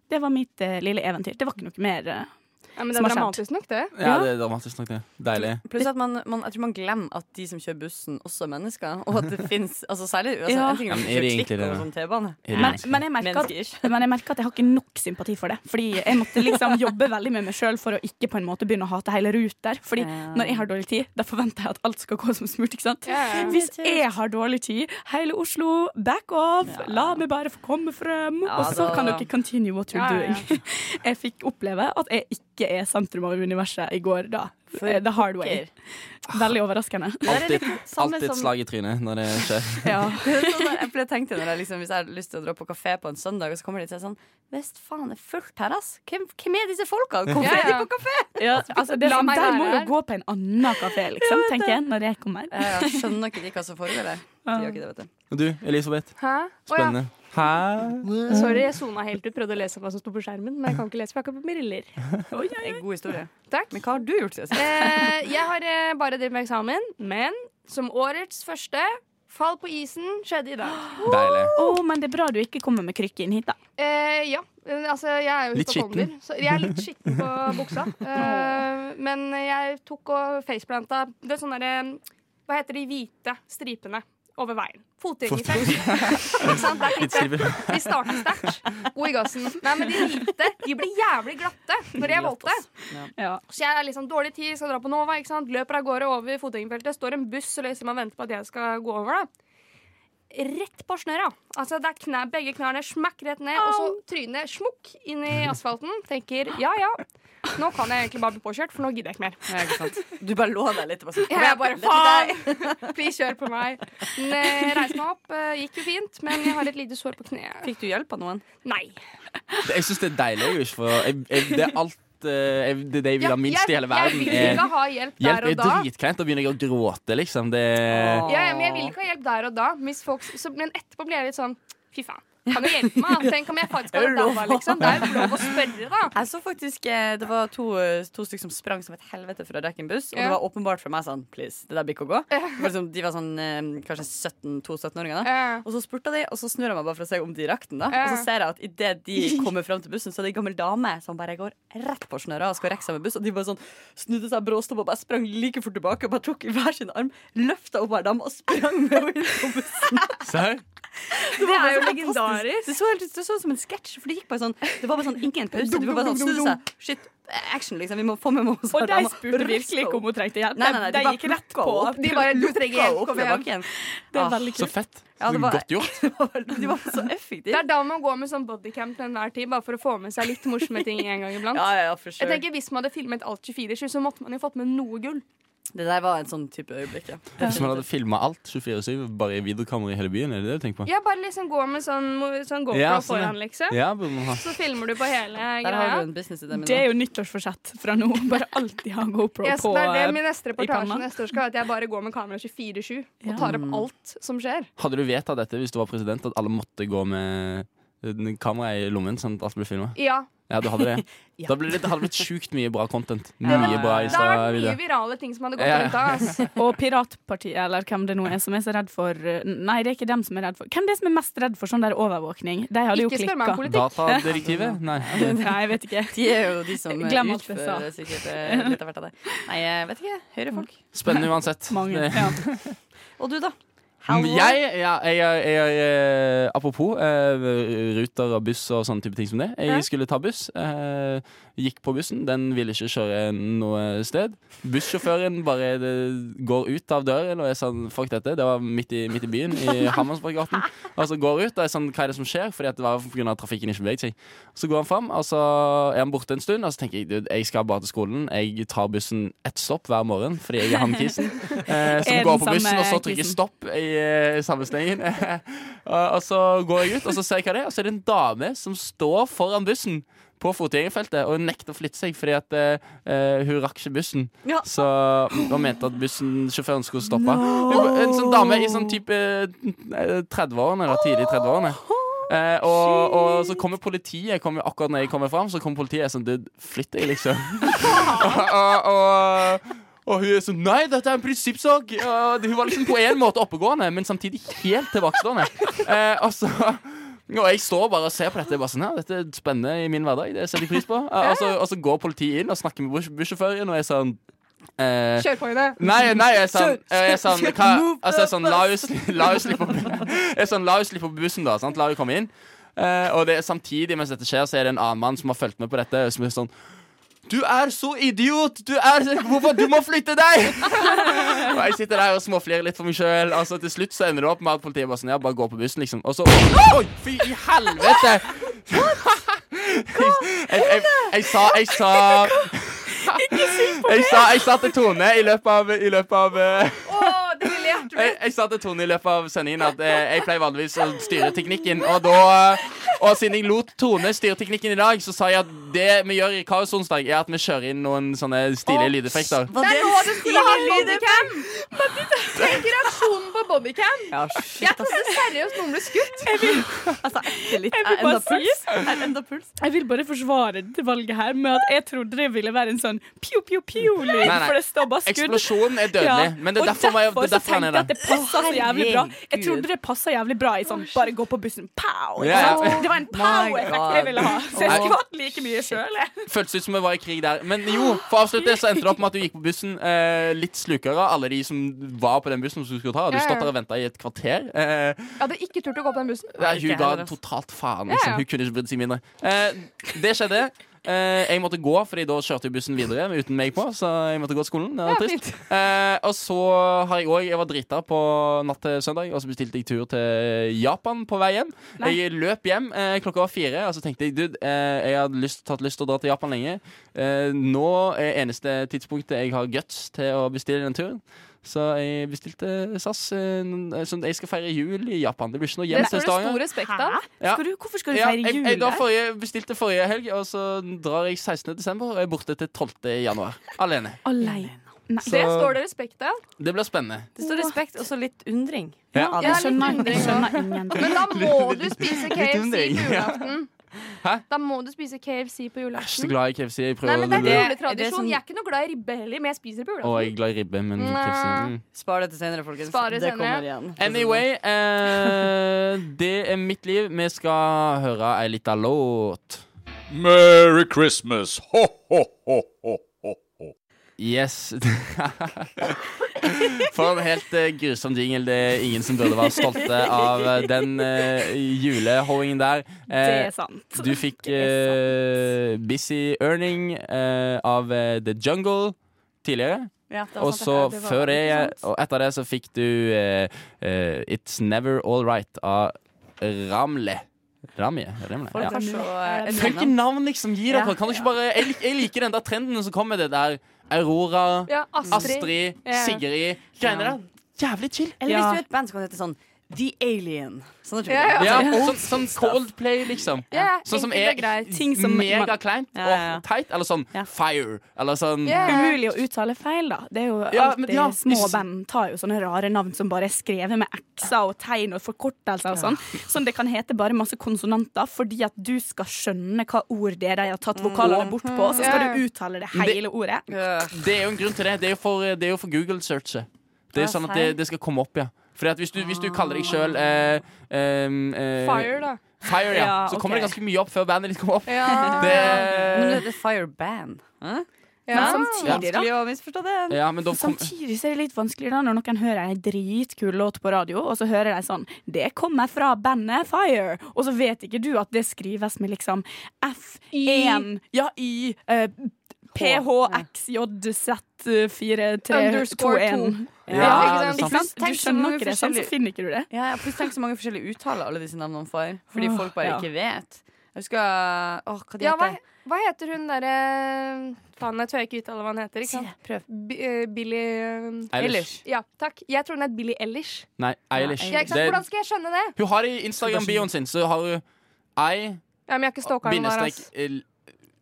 det var mitt eh, lille eventyr. Det var ikke noe mer. eh.
Ja, men det
Som
er
har skjedd.
dramatisk nok, det.
Ja, det er dramatisk nok, det. Deilig.
Pluss at man, man, jeg tror man glemmer at de som kjører bussen, også er mennesker. Og at det fins altså, Særlig altså,
Ja.
en ting
Ja,
er
men er
hvis du
det
kjører
egentlig
klikk
det,
og
da?
sånn T-bane.
Er det
Men,
vanskelig?
men, jeg merker at,
Menneskers.
men jeg merker at jeg har ikke nok sympati for det. Fordi jeg måtte liksom jobbe veldig med meg sjøl for å ikke på en måte begynne å hate hele ruter. Fordi
Ja.
når jeg har dårlig tid, da forventer jeg at alt skal gå som smurt. ikke sant?
Ja, ja.
Hvis jeg har dårlig tid, hele Oslo, back off, la meg bare få komme frem,
Ja,
og så
da-
kan dere continue what you're
Ja, ja, ja.
doing. jeg fikk oppleve at jeg ikke er sentrum av universet i går da. Eh, The hard way. Veldig overraskende.
Alltid,
samme
alltid et
som-
slag i trynet når det skjer.
Ja.
sånn jeg ble tenkt når jeg liksom, Hvis jeg har lyst til å dra på kafé på en søndag, og så kommer de til sånn Hvis faen, det er fullt her, ass. Hvem, hvem er disse folka? Hvorfor
Ja,
er de
ja.
på kafé?
altså, det er
La
sånn,
meg
der
være
må jo
her.
gå på en annen kafé, liksom, tenker jeg, når jeg kommer.
Ja, ja, skjønner ikke de hva som foregår der. De gjør ikke det, vet du.
Og du, Elisabeth.
Hæ? Å, ja.
Spennende. Hæ?
Sorry, jeg sona helt ut. Brødde å lese hva som sto på skjermen, men jeg kan ikke lese, for jeg har ikke på briller.
Det er en god historie.
Takk.
Men hva har du gjort siden sist?
Eh, jeg har eh, bare drevet med eksamen, men som årets første fall på isen skjedde i dag.
Deilig.
Å, men det er bra du ikke kommer med krykke inn hit, da.
Eh, ja. eh, Altså, jeg er jo
Litt
hypokonder, så jeg er litt skitten på buksa. Eh, men jeg tok og faceplanta Det er sånne derre Hva heter de hvite stripene over veien? Fotgjengerfelt. Ikke sant? Der tenkte jeg,
Littstriper.
Vi starter sterkt. God i gassen. Nei, men de hvite de blir jævlig glatte når de er våte.
Ja.
Så jeg er liksom dårlig tid, skal dra på Nova, ikke sant? løper av gårde over fotgjengerfeltet. Står en buss og liksom og venter på at jeg skal gå over. da. Rett på snørra. Altså, det er knæ, begge knærne smakk rett ned, og så trynet smukk inn i asfalten. Tenker ja ja, nå kan jeg egentlig bare bli påkjørt, for nå gidder jeg ikke mer.
Ja, ikke sant? Du bare lå der litt og bare sånn
Jeg er bare
Dette er deg.
faen! Please, kjør på meg. Men, eh, Reis meg opp. eh, Gikk jo fint, men jeg har et lite sår på kneet.
Fikk du hjelp av noen?
Nei.
Det- Jeg syns det er deilig. Jeg, for, jeg, jeg, det er alt eh, jeg, Det er det jeg vil ha
Ja,
minst i hele verden.
Jeg vil
er
ikke ha hjelp
Hjelp
der
er
og da.
dritkleint. Da begynner jeg å gråte, liksom. Det
Åh.
Ja, ja, men jeg vil ikke ha hjelp der og da. Hvis folk, så, men etterpå blir jeg litt sånn Fy faen. Kan du hjelpe meg? Tenk om jeg faktisk
Er
hadde
det lov?
daua, liksom. Det er jo lov å spørre, da.
Jeg så faktisk eh, Det var to, eh, to stykker som sprang som et helvete for å rekke en buss. Og
Ja.
det var åpenbart for meg sånn Please, det der blir ikke å gå. Det var liksom, de var sånn eh, kanskje 17-17-åringer. da
Eh,
Og så spurte jeg de, og så snur jeg meg bare for å se om de rakk den. da
Ja.
Og så ser jeg at idet de kommer fram til bussen, så er det ei gammel dame som bare går rett på snøra og skal rekke seg med buss. Og de bare sånn snudde seg bråstopp og bare sprang like fort tilbake og bare tok i hver sin arm, løfta opp hver dame og sprang med henne ut på bussen.
Se her.
Det er jo
Det
legendarisk.
så helt ut det så ut som en sketsj, for det gikk bare sånn Det var bare sånn ingen pause. De var bare sånn snudde seg. Shit, action, liksom. Vi må få med oss
Og de spurte virkelig ikke om hun trengte hjelp.
Nei, nei, nei,
de,
de bare
gikk rett
plukka
på.
opp.
De bare Du trenger hjelp, kom igjen.
igjen.
Det er
Ah,
veldig
Så
kult.
fett.
Ja, det var-
Godt gjort.
De var så
Det
effektive.
er da man går med sånn bodycam til enhver tid, bare for å få med seg litt morsomme ting en gang iblant.
Ja, ja, ja, for
Jeg
sure.
tenker Hvis man hadde filmet alt 24-7, så måtte man jo fått med noe gull.
Det der var en sånn type øyeblikk, ja.
Hvis man hadde filma alt 24-7, bare i videokamera i hele byen, er det det du tenker på?
Ja, bare liksom gå med sånn, mo- sånn GoPro
Ja, sånn, ja.
foran, liksom.
Ja, burde man ha.
Så filmer du på hele
Der har
greia.
du en businessidé.
Det er jo nyttårsforsett fra nå. Bare alltid ha GoPro
Yes,
på.
det er det
eh,
min neste reportasje
panna.
neste år skal være. At jeg bare går med kamera 24-7 og
Ja. Mm.
tar opp alt som skjer.
Hadde du vedtatt dette hvis du var president, at alle måtte gå med eh, kamera i lommen sånn at alt ble filma?
Ja.
Ja, du hadde det. Da ble det, det hadde blitt sjukt mye bra content.
Ja.
Mye bra
Det har vært mye
Insta-videoer.
virale ting som hadde gått
Ja, ja.
rundt da. ass.
Og piratpartiet, eller hvem det nå er som er så redd for eh, Nei, det er ikke dem som er redd for Hvem det er som er mest redd for sånn der overvåkning? De hadde jo
Ikke spør meg om
klikka.
politikk.
Datadirektivet? Nei.
Nei, jeg vet ikke.
De er jo de som eh,
Glem alt jeg sa.
utfører sikkert eh, litt av hvert av det. Nei, jeg vet ikke. Høyrefolk.
Spennende uansett. Eh,
Mange.
Det-
Ja.
Og du, da?
Mm, Jeg, ja, jeg, jeg, jeg Apropos eh, ruter og buss og sånne type ting som det. Jeg skulle ta buss. eh, gikk på bussen. Den ville ikke kjøre noe sted. Bussjåføren bare eh, går ut av døren, og jeg sa fuck dette. Det var midt i, midt i byen, i Hammersborggaten. Og så går ut, og jeg sånn, hva er det som skjer? Fordi at det var på grunn av at trafikken ikke beveget seg. Så går han fram, og så er han borte en stund, og så tenker jeg dude, jeg skal bare til skolen. Jeg tar bussen ett stopp hver morgen fordi jeg er han kisen. Eh,
Er
som
den
går på
samme
bussen, og så trykker
kisen.
stopp i eh, samme stengen. og, og så går jeg ut, og så ser jeg hva det er, og så er det en dame som står foran bussen. På fotgjengerfeltet, og hun nekter å flytte seg fordi at eh, eh, hun rakk ikke bussen.
Ja.
Så hun mente at bussen sjåføren skulle stoppe. Hun- En sånn dame i sånn type eh, 30-årene, da, tidlig 30-årene. Eh, og, og så kommer politiet kommer, akkurat når jeg kommer fram. Så kommer politiet og er sånn Dude, flytt deg, liksom. og, og, og hun er sånn Nei, dette er en prinsippsak. Og hun var liksom på en måte oppegående, men samtidig helt tilbakestående. Eh, og så og jeg står bare og ser på dette. Jeg bare sånn, ja, dette er spennende i min hverdag. Det setter jeg pris på. Eh, Og så, og så går politiet inn og snakker med buss- bussjåføren, og jeg er sånn eh,
Kjør på i det.
Nei, nei, jeg er sånn, jeg er sånn, hva, altså, jeg er sånn La henne sli- la henne slippe opp Jeg er sånn, la henne slippe opp bussen, da. Sant? La henne komme inn. Eh, og det, er samtidig mens dette skjer, så er det en annen mann som har fulgt med på dette. Som er sånn Du er så idiot! Du er Hvorfor? Du må flytte deg! og jeg sitter der og småflirer litt for meg sjøl. Altså, til slutt så ender det opp med at politiet bare sånn Ja, bare gå på bussen, liksom. Og så Oi, fy i helvete! jeg, jeg, jeg sa Jeg sa jeg sa, jeg sa til Tone i løpet av, i løpet av eh, jeg, jeg sa til Tone i løpet av sendingen at eh, jeg pleier vanligvis å styre teknikken. Og, da, eh, og siden jeg lot Tone styre teknikken i dag, så sa jeg at det vi gjør i Kaos onsdag, er at vi kjører inn noen sånne stilige lydeffekter.
Det er nå du skulle ha en bodycam! Tenk reaksjonen på bodycam.
Ja, shit,
Jeg trodde seriøst noen ble skutt.
altså, ekte litt.
Jeg vil
enda
bare si
puls. Er enda puls.
Jeg vil bare forsvare det valget her med at jeg trodde det ville være en sånn pju-pju-pju-lyd,
Nei, nei.
for det står bare skudd.
Eksplosjonen er
Ja,
dødelig, men det
og
er derfor, jeg- det er
så
derfor han
tenkte
er
jeg at
der.
det passa så jævlig bra. Jeg
herregud.
trodde det passa jævlig bra i sånn bare gå på bussen, pow!
Ja, Oh
ikke
ja.
sant? Det var en pow-effekt jeg ville ha, så jeg
God.
skvatt like mye sjøl.
Føltes ut som vi var i krig der. Men jo, for å avslutte så endte det opp med at du gikk på bussen eh, litt slukere. Alle de som var på den bussen som du skulle ta. Og du
Ja, ja.
stått der og venta i et kvarter. Eh,
Jeg hadde ikke turt å gå på den bussen.
Nei,
Ikke
hun
jeg
ga
heller, altså.
totalt faen.
Ja,
Liksom.
ja.
Hun kunne ikke brydd seg mindre. Eh, det skjedde. Eh, jeg måtte gå, Fordi da kjørte jo bussen videre uten meg på. Så jeg måtte gå til skolen. Det var
Ja,
trist. Eh, og så har jeg òg Jeg var drita på natt til søndag, og så bestilte jeg tur til Japan på vei hjem. Jeg løp hjem eh, klokka var fire, og så tenkte jeg dude, eh, jeg hadde lyst, tatt lyst til å dra til Japan lenge. Eh, nå er eneste tidspunktet jeg har guts til å bestille den turen. Så jeg bestilte SAS. Eh, n- som jeg skal feire jul i Japan. Det blir ikke noe hjem
Det står
til
det stor respekt av.
Ja.
Skal du, hvorfor skal du
Ja,
feire
jeg,
jul
jeg da
der?
forrige, bestilte forrige helg, og så drar jeg 16. desember og er borte til 12. januar. Alene.
Alene.
Så
Det står det respekt av.
det blir spennende.
Det står respekt og så litt undring.
Ja.
Jeg
Ja,
litt
skjønner,
undring,
jeg skjønner ingenting.
Men da må du spise
litt
KFC
undring.
på julaften.
Hæ?
Da må du spise KFC på
Jeg er så
julaften.
glad i KFC. Jeg prøver
Nei, men Det er
å-
Det-
juletradisjon.
det er sånn-
Jeg er ikke noe glad i ribbe heller, men jeg spiser på
Og jeg
julaften.
er glad i ribbe, men
Nei.
KFC mm.
Spar det til senere, folkens.
Spar det
det
senere.
kommer igjen.
Anyway, eh, det er mitt liv. Vi skal høre ei lita låt.
Merry Christmas! Ho, ho, ho, ho, ho, ho.
Yes. For en helt eh, grusom jingle. Det er ingen som burde være stolte av eh, den uh, julehoingen der.
Det
Eh,
er sant.
du fikk eh, Busy Earning eh, av eh, The Jungle tidligere.
Ja, det var
Og
sant,
så
det var-
før det,
ikke sant?
og etter det så fikk du eh, eh, It's Never All Right av Ramle. Ramje? Ramle?
Folk
Ja.
har så eh,
Hvilke
enorme-
navn liksom gi dere?
Ja.
Kan du ikke bare, jeg, lik- jeg liker den der trenden som kommer med det der Aurora,
Ja, Astrid.
Astrid,
Ja.
Sigrid Greiene der. Jævlig chill.
Eller
Ja.
hvis du er et band som kan hete sånn The Alien. Sånn er det
Ja,
Ja, sånn, sånn Coldplay, liksom.
Ja,
Sånn som
enkelt
er
og greit.
Ting som-
megakleint
Ja, ja, ja.
og teit. Eller sånn
Ja.
Fire. Eller sånn
Ja.
Umulig å uttale feil, da. Det er jo
Ja, men
alltid
ja,
Små
hvis-
band tar jo sånne rare navn som bare er skrevet med x-er og tegn og forkortelser og sånn. Sånn det kan hete bare masse konsonanter fordi at du skal skjønne hva ord det er de har tatt vokalene bort på, og så skal du uttale det hele ordet.
Ja.
Det er jo en grunn til det. Det er jo for, det er jo for Google-searchet. Det er
Ja,
sånn at det,
feil.
det skal komme opp, ja. Fordi at hvis du, hvis du kaller deg sjøl eh, em, eh,
Fire, da.
Fire, ja.
Ja,
Så kommer
ok.
det ganske mye opp før bandet ditt kommer opp.
Ja.
Men det
Det,
heter Fire Band. Hæ?
ja.
Men samtidig, da.
Vanskelig å misforstå den.
ja, men da kom,
Samtidig så er det litt vanskelig da når noen hører en dritkul låt på radio, og så hører de sånn 'Det kommer fra bandet Fire', og så vet ikke du at det skrives med liksom F1 Ja, Y eh,
Underscore to.
PHXJZ4321.
Ja,
Ja,
det er
ikke
sant.
sant?
Du
Tenk så
skjønner
mange
ikke det, sånn, så
forskjellige-
finner ikke du det.
Ja, jeg plutselig tenker så mange forskjellige uttaler alle disse navnene får. Fordi
Åh,
folk bare
ja.
ikke vet. Jeg husker Åh, hva de
Ja, hva,
heter
hva heter hun derre Faen, jeg tør ikke uttale hva han heter. Ikke sant?
Prøv.
Bi- eh, Billy eh,
Eilish.
Ja, takk. Jeg tror hun het Billy Ellish.
Nei, Eilish.
Ja, ikke sant?
Det-
Hvordan skal jeg skjønne det?
hun har i Instagram-bioen sin, så har hun I
Ja, men jeg har ikke stalka henne. der,
bindestrek
ass.
eh,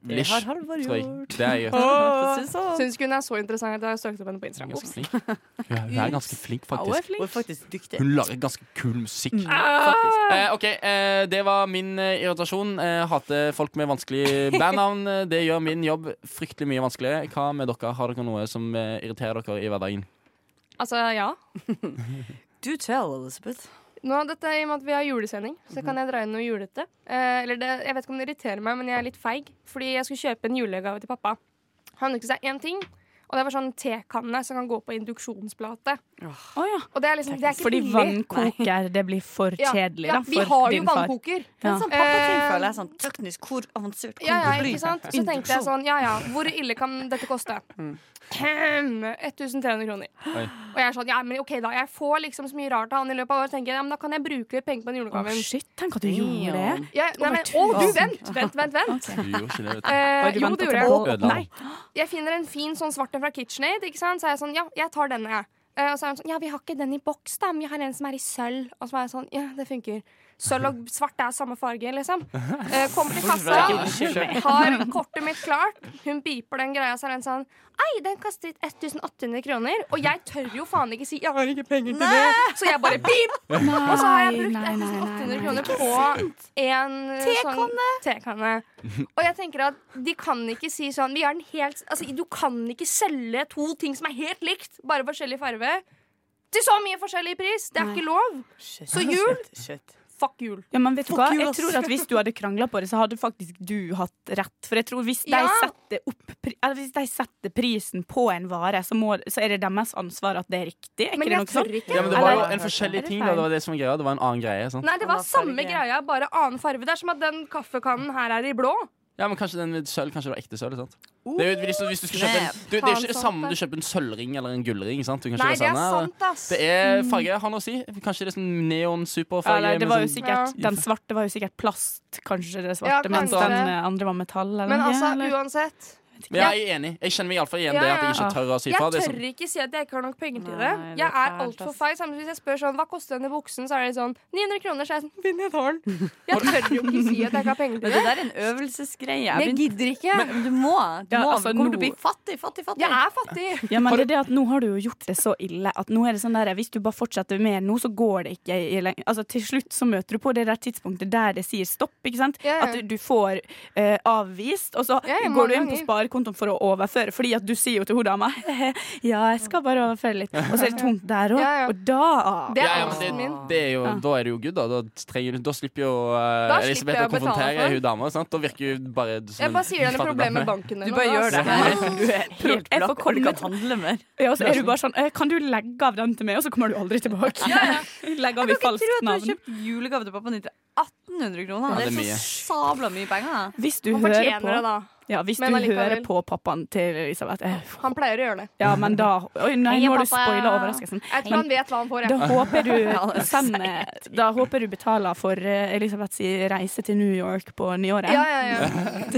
Det
Lish,
har Halvor
tror jeg.
gjort.
Det er jeg.
Åh, sånn.
Syns ikke hun er så interessant at jeg har søkt opp henne
Hun
på
er
Instagram.
ganske flink. Hun er- Hun er ganske flink,
Hun er
faktisk.
Hun er
flink.
faktisk dyktig.
Hun lager ganske kul musikk.
Faktisk.
Ah!
Eh, ok, eh, Det var min eh, irritasjon. Eh, hater folk med vanskelige bandnavn. Eh, Det gjør min jobb fryktelig mye vanskeligere. Hva med dere? Har dere noe som eh, irriterer dere i hverdagen?
Altså, ja.
Do tell, Elizabeth.
Nå, dette er I og med at vi har julesending, så kan jeg dra inn noe julete. Eh, eller det, jeg vet ikke om det irriterer meg, men jeg er litt feig. Fordi jeg skulle kjøpe en julegave til pappa. Han ønsket seg én ting, og det var sånn tekanne som kan gå på induksjonsplate.
Å ja.
Og det er liksom, det er ikke
Fordi
billig.
vannkoker, det blir for
Ja,
kjedelig
ja,
da,
vi
for
har jo
din far.
vannkoker.
Det er
Ja.
en sånn pappating,
Eh,
føler jeg. Sånn teknisk, hvor avansert kan
Ja, ja,
det bli?
ikke sant? Så tenkte jeg sånn, ja ja, hvor ille kan dette koste? Ahem, 1300 kroner.
Oi.
Og jeg er sånn, ja, men ok da, jeg får liksom så mye rart av han i løpet av året, tenker jeg, ja, men da kan jeg bruke litt penger på den
Å,
julegaven.
shit, tenk at du gjorde det.
Ja, nei, men, å, du, vent, vent, vent, vent.
Du gjorde ikke det, vet
Eh,
Har du
jo,
ventet
det
til
gjorde jeg.
på-
Ødela
Nei.
Jeg finner en fin sånn svart en fra KitchenAid, ikke sant? Så er jeg sånn, ja, jeg tar denne, jeg. Eh, og så er han sånn, ja, vi har ikke den i boks da, men vi har en som er i sølv. Og så er jeg sånn, ja, det funker. Sølv og svart er samme farge, liksom. Eh, kommer til kassa.
du.
Har kortet mitt klart. Hun beeper den greia, så er den sånn Ei, den kastet 1800 kroner. Og jeg tør jo faen ikke si 'jeg har ikke penger til det', så jeg bare beep! Og så har jeg brukt 1800 kroner på en tekanne. Sånn, tekanne. Og jeg tenker at de kan ikke si sånn vi har den helt, altså, Du kan ikke selge to ting som er helt likt, bare forskjellig farge, til så mye forskjellig pris. Det er ikke lov. Så jul Fuck jul.
Ja, men vet du
Fuck
hva?
you,
Jeg
ass.
tror at Hvis du hadde krangla på det, så hadde faktisk du hatt rett. For jeg tror hvis de,
Ja.
setter, opp, pri- eller hvis de setter prisen på en vare, så, må, så er det deres ansvar at det er riktig. Er ikke
Men jeg
det noe
tør
sånn?
ikke.
Ja, men det var jo
Eller-
en forskjellig
Er det
ting. Da.
feil?
Det var det som var greia. Det var en annen greie. Sant?
Nei, det var
Annen
samme
farge.
greia, bare annen farge. Det er som at den kaffekannen her er i blå.
Ja, men Kanskje den med sølv Kanskje det var ekte sølv. sant? Det er jo, hvis, du- hvis du skal kjøpe en,
Snap.
du, det er jo ikke det
Faen,
samme
sant
du kjøper en sølvring eller en gullring. sant? Du kan
Nei,
kjøpe
det er
sånne, eller-
sant, ass.
eh, Det er farge har noe å si. Kanskje det er sånn neon
Ja,
superfarge.
nei,
med
det var jo
sånn-
sikkert,
Ja.
Den svarte var jo sikkert plast, kanskje
Ja,
det svarte, mens
kanskje.
den eh, andre var metall. Eller
Men
noe,
altså,
eller?
uansett.
Men jeg er enig. Jeg kjenner meg iallfall igjen i det at jeg ikke tør å si fra.
Jeg
Det er
tør
som-
ikke si at jeg ikke har nok penger til det.
Nei, det er
Jeg er
fælt,
altfor
ass.
feig. Samtidig hvis jeg spør sånn, hva koster denne buksen, så er det sånn 900 kroner. Så er jeg sånn, bind i et hål. Jeg tør jo ikke si at jeg ikke har penger
Men
til
det
det.
der er en øvelsesgreie. Jeg
Jeg
begynte-
gidder ikke.
Men du må. Du
Ja,
må.
altså,
du kommer
nå-
til å bli fattig, fattig, fattig.
Jeg er fattig.
Ja, men det er det at nå har du jo gjort det så ille at nå er det sånn der, hvis du bare fortsetter mer nå, så går det ikke i lenge. Altså, til slutt så møter du på det der tidspunktet der det sier stopp, ikke sant?
Ja, ja.
At du, du får eh, avvist, og så
Ja, ja, mange
går du inn på
ganger.
sparekontoen for å overføre, fordi at du sier jo til hodet dama, ja, jeg skal bare overføre litt. Og så er det tomt der også,
Ja, ja.
og da...
Det
Ja,
er
ja, men
angsten min.
Det er jo, Da er det jo good, da. Da, trenger, da slipper jo eh,
Da slipper
Elisabeth
jeg
å
å betale
konfrontere
for.
hun dama. Sant? Da virker hun bare som
Jeg bare sier det er
fattig
noe problem med
dame.
banken.
Du
eller
bare
noe,
gjør
altså.
det her. Du er helt
Jeg får
blakk og du
komme
kan handle mer.
Ja, og så er du bare sånn, eh, kan du legge av den til meg, og så kommer du aldri tilbake. Legge av i
Jeg kan ikke tro
falskt
at du har
navn.
kjøpt julegave til pappa din til 1800 kroner.
Ja,
det,
det er
er så sabla mye penger.
Hvis du
Han
hører
fortjener
på,
det, da.
ja, hvis du
Men allikevel.
hører på pappaen til Elisabeth, eh,
Han pleier å gjøre det.
Ja,
Mm.
men da Oi, nei,
Hei,
nå har du
pappa.
spoila overraskelsen.
Jeg tror han vet hva han får.
Da
Jeg.
håper du sender Da håper du betaler for eh, Elisabeths reise til New York på nyåret.
Ja, ja, ja.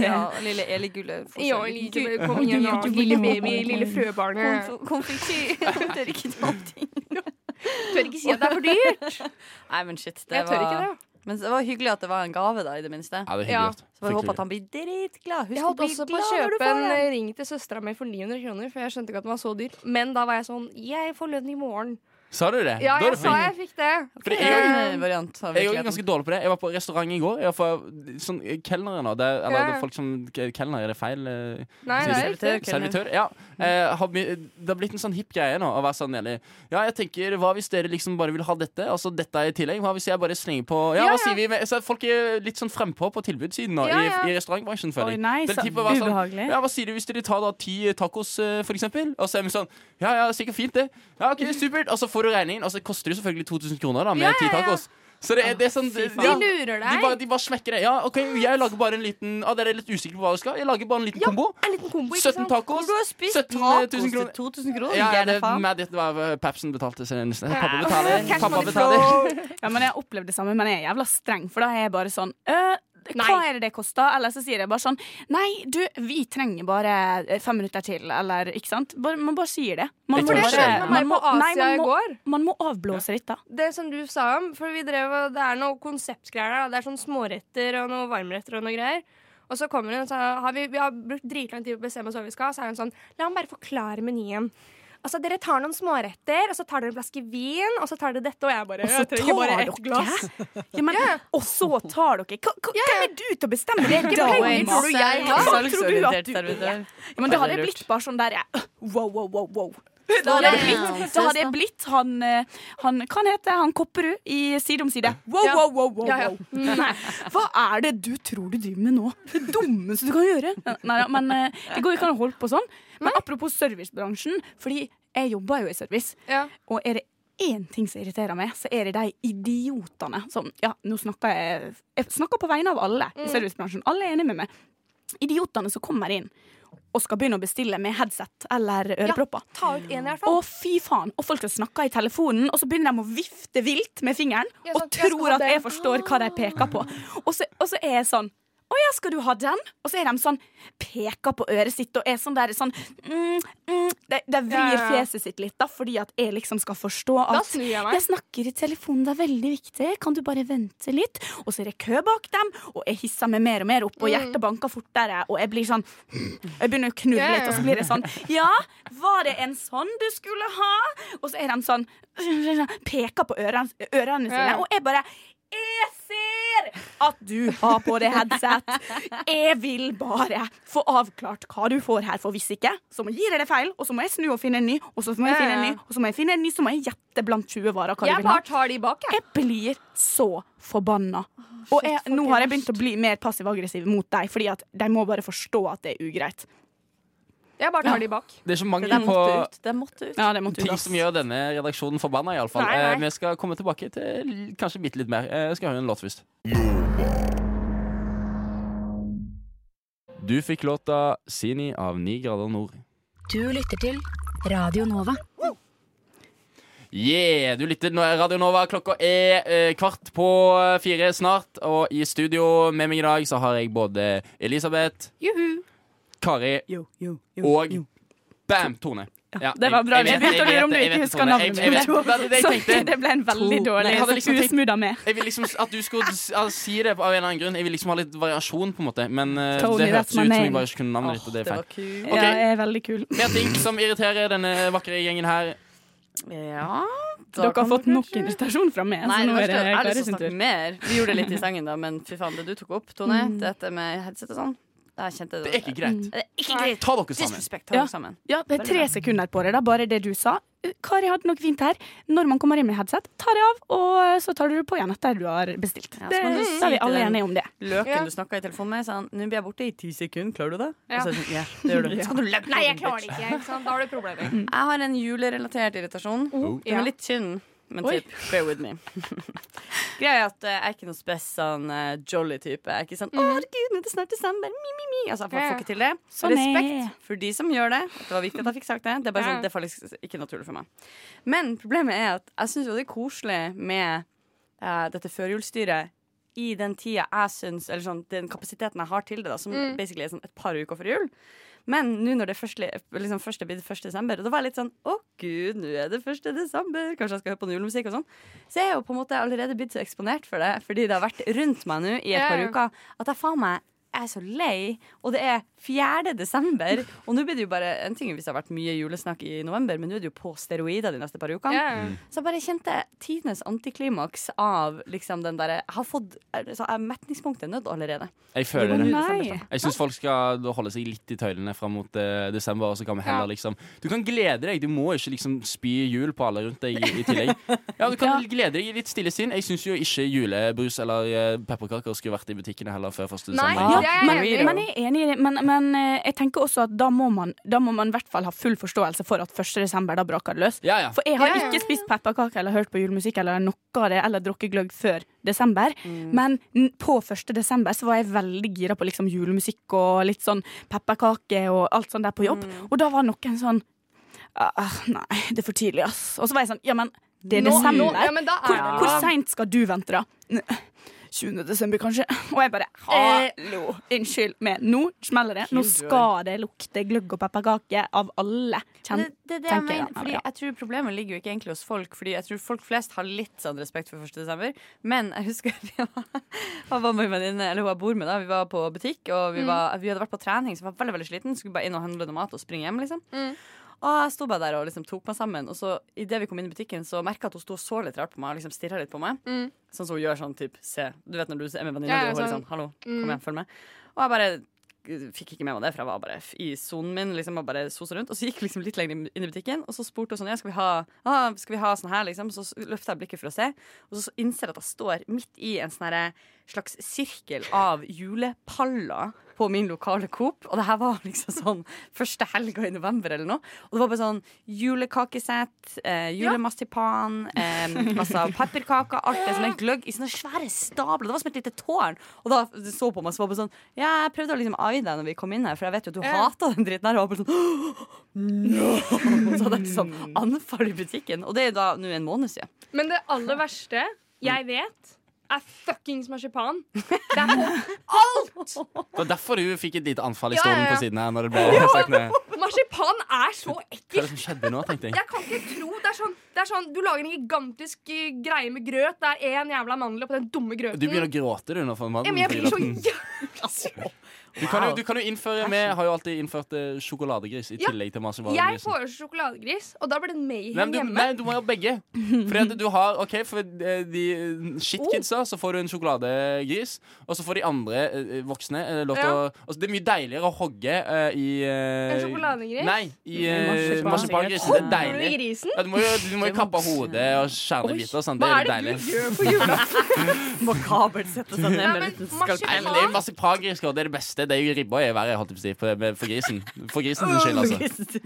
Ja, lille Eli Gulle. får seg
Ja,
en liten
like, kom igjen, ja. Lille baby, lille frøbarnet.
konf- Konfektyr. Jeg Tør ikke ta opp ting.
Tør ikke si at det er for dyrt.
Nei, men shit. Det
Jeg tør ikke det.
var, men det var hyggelig at det var en gave, da, i det minste.
Ja, det er
Ja.
hyggelig. gjort.
Så får jeg
Fryktelig.
håpe at han blir dritglad. Husk
Jeg
å
holdt
bli
også på å
glad når du
kjøpe
får
en eh,
den.
ring til søstera mi for 900 kroner, for jeg skjønte ikke at den var så dyr. Men da var jeg sånn Jeg får lønn i morgen.
Sa du det?
Ja,
Da er
jeg
det
sa
fint.
jeg fikk det.
Fordi
Det er jo
jeg-
en variant av
Jeg er jo
virkeligheten.
ganske dårlig på det. Jeg var på restaurant i går. Jeg var for, sånn, eh, kelnere nå. Det, er- eller
Ja.
det er folk som Kelner, er det feil? eh,
Nei,
sier
det
det?
er riktig.
Servitør, ja.
Mm.
Eh, har, vi- det har blitt en sånn hipp greie nå å være sånn enig. Ja, jeg tenker, hva hvis dere liksom bare vil ha dette, altså dette i tillegg? Hva hvis jeg bare slenger på Ja,
Ja,
hva sier vi? med- Så folk er litt sånn frempå på tilbudssiden nå,
Ja, ja.
i, i restaurantbransjen, føler
Oi,
jeg.
nei,
Det er
så
typ å være sånn,
ubehagelig.
ja, hva sier du hvis dere tar da ti tacos, eh, for eksempel? Og så er vi sånn, ja, ja, sikkert fint det. Ja, ok, supert. Og så får du regningen, og så koster det selvfølgelig 2000 kroner da, med
Ja,
ti
ja, ja.
tacos. Så det, er- det er sånn
De
ja.
lurer
De bare,
deg.
de bare smekker det. Ja, ok, jeg lager bare en liten ah, Dere er litt usikre på hva dere skal. Jeg lager bare en liten
Ja,
kombo.
En liten kombo, ikke
17
sant?
tacos.
Du har spist
17 000
tacos
kroner.
til 2000 kroner.
Ja,
gjerne
det
faen.
med det var eh, Pepsen betalte seg nesten. Pappa betaler.
Cash
Pappa
money
betaler.
Ja, men jeg har opplevd det samme, men jeg er jævla streng, for da er jeg bare sånn «Øh, hva
Nei.
er det det koster? Eller så sier jeg bare sånn Nei, du, vi trenger bare eh, fem minutter til, eller ikke sant? Bare, man bare sier det. Man
Jeg
For
tror
det
ikke
skjedde
det.
med meg
man
på
må- nei,
Asia
man
i
må-
går.
Man må avblåse litt, da.
Det som du sa om, for vi drev og Det er noen konseptgreier der. da. Det er sånn småretter og noen varmretter og noe greier. Og så kommer hun og sier har vi, vi har brukt dritlang tid på å bestemme oss hva vi skal. Så er hun sånn La meg bare forklare menyen. Altså, Dere tar noen småretter, og så tar dere en flaske vin, og så tar dere dette. Og jeg bare
Og så
Jeg trenger bare
tar
ett
dere?
glass.
Ja, men, Og så tar dere Hva- hva- Hvem er du til å bestemme det? da,
penger
Emma?
tror du jeg
Hva
har?
faen tror du at
Salgsorientert
du
servitør.
Ja, men da hadde jeg blitt bare sånn der jeg, Wow, wow, wow, wow da hadde, jeg blitt, da hadde jeg blitt han, eh, han Kan hete han Kopperud i Side om side. Wow,
Ja.
wow, wow, wow,
Ja, ja.
wow. Nei, hva er det du tror du driver med nå? Det dummeste du kan gjøre. Nei, ja, men eh, Det går jo ikke an å holde på sånn. Men apropos servicebransjen, fordi jeg jobber jo i service.
Ja.
Og er det én ting som irriterer meg, så er det de idiotene som Ja, nå snakker jeg Jeg snakker på vegne av alle i servicebransjen. Alle er enige med meg. Idiotene som kommer inn og skal begynne å bestille med headset eller ørepropper.
Ta ut en i hvert
Å,
fall.
fy faen! Og folk som snakker i telefonen, og så begynner de å vifte vilt med fingeren
Ja,
og
sånn, jeg skal ha
tror at jeg
den.
forstår hva de peker på. Og så, og så er jeg sånn Å ja, skal du ha den? Og så er de sånn Peker på øret sitt og er sånn der sånn mm, mm, De, de
Ja,
vrir
ja, ja.
fjeset sitt litt, da, fordi at jeg liksom skal forstå
Da
at
snur jeg meg.
jeg snakker i telefonen, det er veldig viktig. Kan du bare vente litt? Og så er det kø bak dem, og jeg hisser meg mer og mer
Mm.
opp, og hjertet banker fortere, og jeg blir sånn Jeg begynner å knurre litt, og så blir det sånn Ja, var det en sånn du skulle ha? Og så er de sånn Peker på ørene, ørene sine,
Ja.
og jeg bare jeg ser at du har på deg headset. Jeg vil bare få avklart hva du får her, for hvis ikke, så må gir jeg det feil, og så må jeg snu og finne en ny, og så må jeg
Ja, ja,
finne en ny,
ja.
og så må jeg finne en ny, så må jeg gjette blant 20 varer hva du
Jeg
vil ha.
bare tar de bak, jeg.
Jeg blir så forbanna. Og jeg, nå har jeg begynt å bli mer passiv-aggressiv mot deg, fordi at de må bare forstå at det er ugreit.
Jeg bare tar de bak.
Det er så
Det
mangel
der
på
måtte ut. Det måtte ut.
Ja, det måtte du
ting som gjør denne redaksjonen forbanna, iallfall.
Nei, nei.
Eh, Vi skal komme tilbake til kanskje bitte litt mer. Eh, Jeg skal høre en låt først. Du fikk låta 'Sini' av 9 grader nord.
Du lytter til Radio Nova.
Yeah, du lytter nå er Radio Nova. Klokka er eh, kvart på eh, fire snart. Og i studio med meg i dag så har jeg både Elisabeth Kari og Bam! Tone. Ja,
Det var bra.
jeg-
Vi
jeg vet- jeg
begynte å
vet-
lure om du
jeg
ikke
vet
husker
Tone.
navnet.
Jeg- jeg vet- det var det jeg
Så
tenkte.
det ble en veldig
Tone.
dårlig
Jeg hadde liksom tenkt-
usmudda med.
Jeg vil liksom s- at du skulle s- ja, si det av en eller annen grunn. Jeg vil liksom ha litt variasjon, på en måte. Men eh,
Tony,
det hørtes
that's my
ut som jeg
name.
bare ikke kunne navnet ditt, og det er feil.
Ja, jeg er veldig kul.
Mer ting som irriterer denne vakre gjengen her.
Ja
Dere har fått nok irritasjon fra meg. så
Nei, det
nå er
verste
det
er jeg har lyst
Kari
til å
sin tur.
snakke mer. Vi gjorde det litt i sengen, da, men fy faen, det du tok opp, Tone,
Mm.
dette med headset og sånn det, her kjente jeg
Det er ikke greit.
Det er ikke greit.
Ta dere sammen.
Disrespect, ta
Ja.
dere sammen.
Mm. Ja, det er tre sekunder på det, da. Bare det du sa. Eh, Kari hadde nok fint her. Når man kommer inn med headset, tar det av, og eh, så tar du det på igjen etter du har bestilt.
Ja, så
det,
kan du si
så er vi
til
alle
den-
enige om det.
Løken
Ja.
du snakka i telefonen med, sa han nå blir jeg borte i ti sekunder, klarer du det?
Ja.
Og så er jeg sånn, ja, det gjør du. Så kan du løpe
Nei, jeg klarer det ikke. ikke sant? Da har du problemer.
Jeg har en julerelatert irritasjon. Den
Ja.
er litt tynn, men
Oh, Oi.
typ, bear with me. Greia er at eh, jeg er ikke noe spes sånn eh, jolly type. Jeg er ikke sånn
Mm.
'Å, herregud, nå er det snart desember', mi, mi, mi. Altså, jeg får,
Ja.
får ikke til det.
Sånn er-
Respekt for de som gjør det. Det var viktig at jeg fikk sagt det. Det er bare
Ja.
sånn, det er faktisk ikke naturlig for meg. Men problemet er at jeg syns jo det er koselig med eh, dette førjulsstyret. I den tida jeg syns, eller sånn, den kapasiteten jeg har til det, da, som
Mm.
basically er sånn et par uker før jul. Men nå når det er først, liksom først er blitt 1. desember, og da var jeg litt sånn Å gud, nå er det 1. desember, kanskje jeg skal høre på noe julemusikk og sånn. Så jeg er jo på en måte allerede blitt så eksponert for det, fordi det har vært rundt meg nå i et
Ja,
par
ja.
uker, at jeg faen meg er så lei, og det er 4. desember. Og nå blir det jo bare en ting hvis det har vært mye julesnakk i november, men nå er det jo på steroider de neste par
sånn.
ukene.
Ja.
Mm.
Så jeg bare kjente tidenes antiklimaks av liksom den derre Jeg har fått så jeg- Metningspunktet er nådd allerede.
Jeg føler det.
Nei.
Jeg syns folk skal da holde seg litt i tøylene fram mot eh, desember. Og så kan vi heller
Ja.
liksom Du kan glede deg. Du må ikke liksom spy jul på alle rundt deg i, i tillegg. Ja, Du kan glede deg i litt stille sinn. Jeg syns jo ikke julebrus eller eh, pepperkaker skulle vært i butikkene heller før 1.
Nei,
desember.
Ja,
det er
men,
jeg enig i.
men jeg er enig i det. Men, men eh, jeg tenker også at da må man Da må man i hvert fall ha full forståelse for at 1. desember da braker det løs.
Ja, ja.
For jeg har
Ja, ja.
ikke spist pepperkaker eller hørt på julemusikk eller noe av det, eller drukket gløgg før desember.
Mm.
Men n- på 1. desember så var jeg veldig gira på liksom julemusikk og litt sånn pepperkake og alt sånt der på jobb.
Mm.
Og da var noen sånn «Ah, Nei, det er for tidlig, ass. Og så var jeg sånn Ja, men det er
Nå-
desember.
nå- ja, men da er
Hvor,
det-
hvor seint skal du vente, da? N- 20. desember, kanskje. Og jeg bare
Eh.
Hallo! Unnskyld meg. Nå smeller det. Nå skal det lukte gløgg og pepperkake av alle. Kjen,
Det, det, er det jeg
tenker
mener,
jeg.
fordi
Ja.
jeg tror problemet ligger jo ikke egentlig hos folk. Fordi jeg tror folk flest har litt sånn respekt for 1. desember. Men jeg husker vi var, jeg var med en venninne, eller hun jeg bor med, da. Vi var på butikk, og
Mm.
vi, var, vi hadde vært på trening, så jeg var veldig veldig sliten. Skulle bare inn og handle noe mat og springe hjem, liksom.
Mm.
Og jeg sto bare der og liksom tok meg sammen. Og så idet vi kom inn i butikken, så merka jeg at hun sto og så litt rart på meg. Og liksom stirra litt på meg.
Mm.
Sånn som hun gjør sånn typ se. Du vet når du er med venninna
Ja,
di
ja,
og holder
sånn.
sånn hallo, kom igjen, følg med. Og jeg bare eh, fikk ikke med meg det, for jeg var bare f- i sonen min. Liksom, og bare sosa rundt Og så gikk vi liksom litt lenger inn inn i butikken, og så spurte hun sånn ja, skal vi ha, ah, skal vi ha sånn her, liksom. Så s- løfter jeg blikket for å se, og så innser jeg at jeg står midt i en sånn herre slags sirkel av julepaller på min lokale Coop. Og det her var liksom sånn første helga i november eller noe. Og det var bare sånn julekakesett, eh, julemastipan, eh, masse av pepperkaker, alt det som er gløgg i sånne svære stabler. Det var som et lite tårn. Og da du så på meg, så var det bare sånn Ja, jeg prøvde å liksom eie deg når vi kom inn her, for jeg vet jo at du hata den dritten her. Og jeg var bare sånn «Åh, no! Så hadde jeg sånn anfall i butikken. Og det er da nå en måned siden.
Men det aller verste jeg vet, er fuckings marsipan. Det er på alt!
Det var derfor du fikk et lite anfall i
Ja, ja,
stolen
ja.
på siden her. Når det ble sagt ned.
Marsipan er så
Hva er
ekkelt.
det som skjedde nå, tenkte jeg.
Jeg kan ikke tro det er, sånn, det er sånn Du lager en gigantisk eh, greie med grøt. Det er én jævla mandel på den dumme grøten.
Du begynner å gråte du nå for mannen.
ja, men jeg blir så
Du kan, jo, du kan jo innføre Vi har jo alltid innført eh, sjokoladegris i
Ja.
tillegg til
Jeg
marsipangris.
foreslår sjokoladegris, og da blir det
Nei,
mayhem
men du,
hjemme.
nei, du må ha begge. Fordi at du har, ok, For eh, de eh, shitkidsa så får du en sjokoladegris, og så får de andre eh, voksne eh, lov til
Ja.
å altså, Det er mye deiligere å hogge eh, i eh,
En sjokoladegris?
Nei, i eh,
Marsipan.
marsipangrisen. Det er
Tror du
deilig.
grisen?
Ja, du, må jo, du må jo kappe av hodet og skjære biter. og sånn. Det
Hva er
er jo
det
deilig.
du gjør på julaften?
Makabert sette seg
Nei,
ned med en
men
liten
Nei, men
marsipan
det er jo marsipangris, og det er det beste. Det er jo ribba i været, holdt jeg på å si, på- med- for grisen. For grisen sin skyld, altså.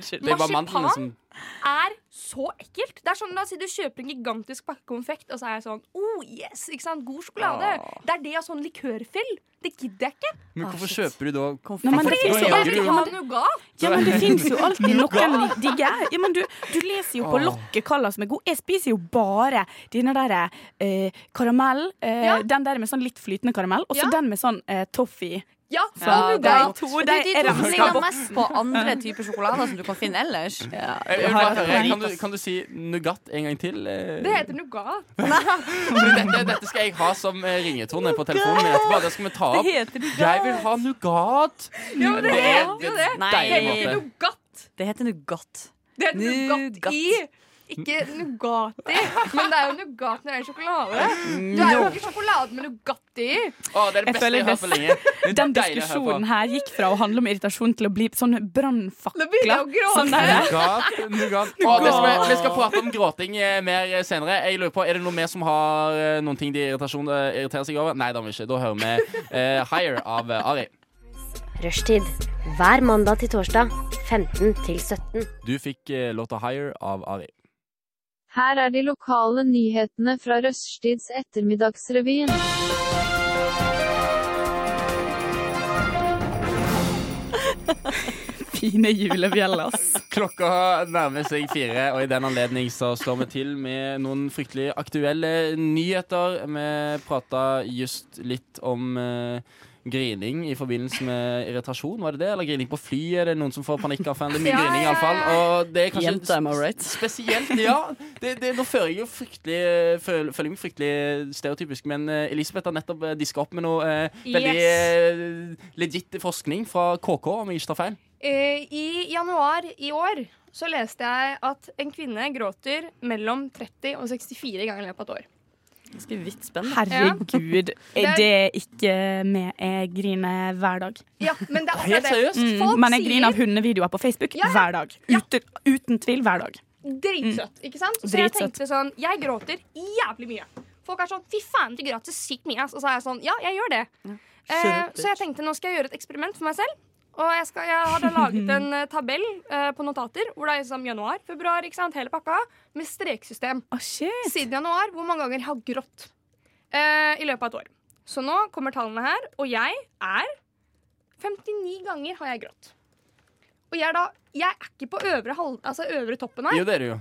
skalpell.
Det er bare mandlene
Marsipan?
som
er så ekkelt. Det er sånn, La oss si du kjøper en gigantisk pakke konfekt, og så er jeg sånn Oh yes! ikke sant? God sjokolade. Det er det og sånn likørfyll. Det gidder jeg ikke.
Men hvorfor kjøper du da
Nei, men det
Hvorfor
finnes jo
lager
Jeg
du-
vil ha nougat.
Ja, men det finnes jo alltid noen li- digge. Ja, men du, du leser jo på lokket hva som er god. Jeg spiser jo bare denne derre eh, karamell. Eh,
Ja.
Den der med sånn litt flytende karamell, og så
Ja.
den med sånn eh, toffee.
Ja,
Ja,
Nougat.
de to de
De- de
er
to
ramsinga
Nougat.
mest på andre typer sjokolader som du kan finne ellers.
Jeg- jeg har- jeg- Kan du, kan du si Nougat en gang til? eh?
Det heter nougat.
Fordi dette, dette skal jeg ha som eh, ringetone på telefonen min etterpå. Det skal vi ta opp. Jeg vil ha nougat.
Ja, men det
Det-
heter jo det.
Nei.
Det heter nougat.
Det heter nougat.
Det heter nougat i. Ikke nougat i, men det er jo nougat når det er sjokolade. Du er jo ikke sjokolade med nougat i.
Å, det er det
Jeg
beste
føler
jeg har hørt på
det-
lenge. Det er
Den
deilig å høre på.
diskusjonen her gikk fra å handle om irritasjon til å bli sånn
Nå begynner
brannfakler.
jeg å
Sånn der.
Nougat, nougat. Å, det som er, vi skal prate om gråting eh, mer eh, senere. Jeg lurer på, Er det noen mer som har eh, noen ting de irritasjon, eh, irriterer seg over? Nei, det har vi ikke. Da hører vi eh, Higher av eh, Ari.
Rushtid. Hver mandag til torsdag 15 til 17.
Du fikk eh, låta Higher av Ari.
Her er de lokale nyhetene fra Røststids ettermiddagsrevyen.
Fine julebjeller, ass.
Klokka nærmer seg fire, og i den anledning så slår vi til med noen fryktelig aktuelle nyheter. Vi prata just litt om eh, grining i forbindelse med irritasjon, var det det? Eller grining på fly, er det noen som får panikk av det? Det er mye
Ja,
grining,
ja,
iallfall. Og det er kanskje
Jente, am I right?
spesielt, ja. Det, det, nå føler jeg jo fryktelig føler, føler jeg meg fryktelig stereotypisk, men eh, Elisabeth har nettopp eh, diska opp med noe eh, veldig eh, legit forskning fra KK, om jeg ikke tar feil.
Eh, I januar i år så leste jeg at en kvinne gråter mellom 30 og 64 ganger i løpet av et år.
Ganske vidt spennende.
Herregud. Er det ikke med jeg griner hver dag?
Ja, men det er akkurat det.
Helt seriøst?
Folk
Mm, men jeg griner av
sier-
hundevideoer på Facebook hver dag. Uten, uten tvil hver dag.
Dritsøtt, ikke sant? Så jeg
Dritsøtt.
tenkte sånn, jeg gråter jævlig mye. Folk er sånn, fy faen, du gråter sykt mye. ass." Og så er jeg sånn, ja, jeg gjør det. Eh,
Kjempekjekt.
så jeg tenkte, nå skal jeg gjøre et eksperiment for meg selv. Og jeg, skal, jeg hadde laget en eh, tabell eh, på notater, hvor det er liksom januar, februar, ikke sant, hele pakka, med streksystem. Siden januar, hvor mange ganger jeg har grått eh, i løpet av et år. Så nå kommer tallene her, og jeg er 59 ganger har jeg grått. Og jeg er da, jeg er ikke på øvre, halv, altså øvre toppen her.
Jo, det er det jo.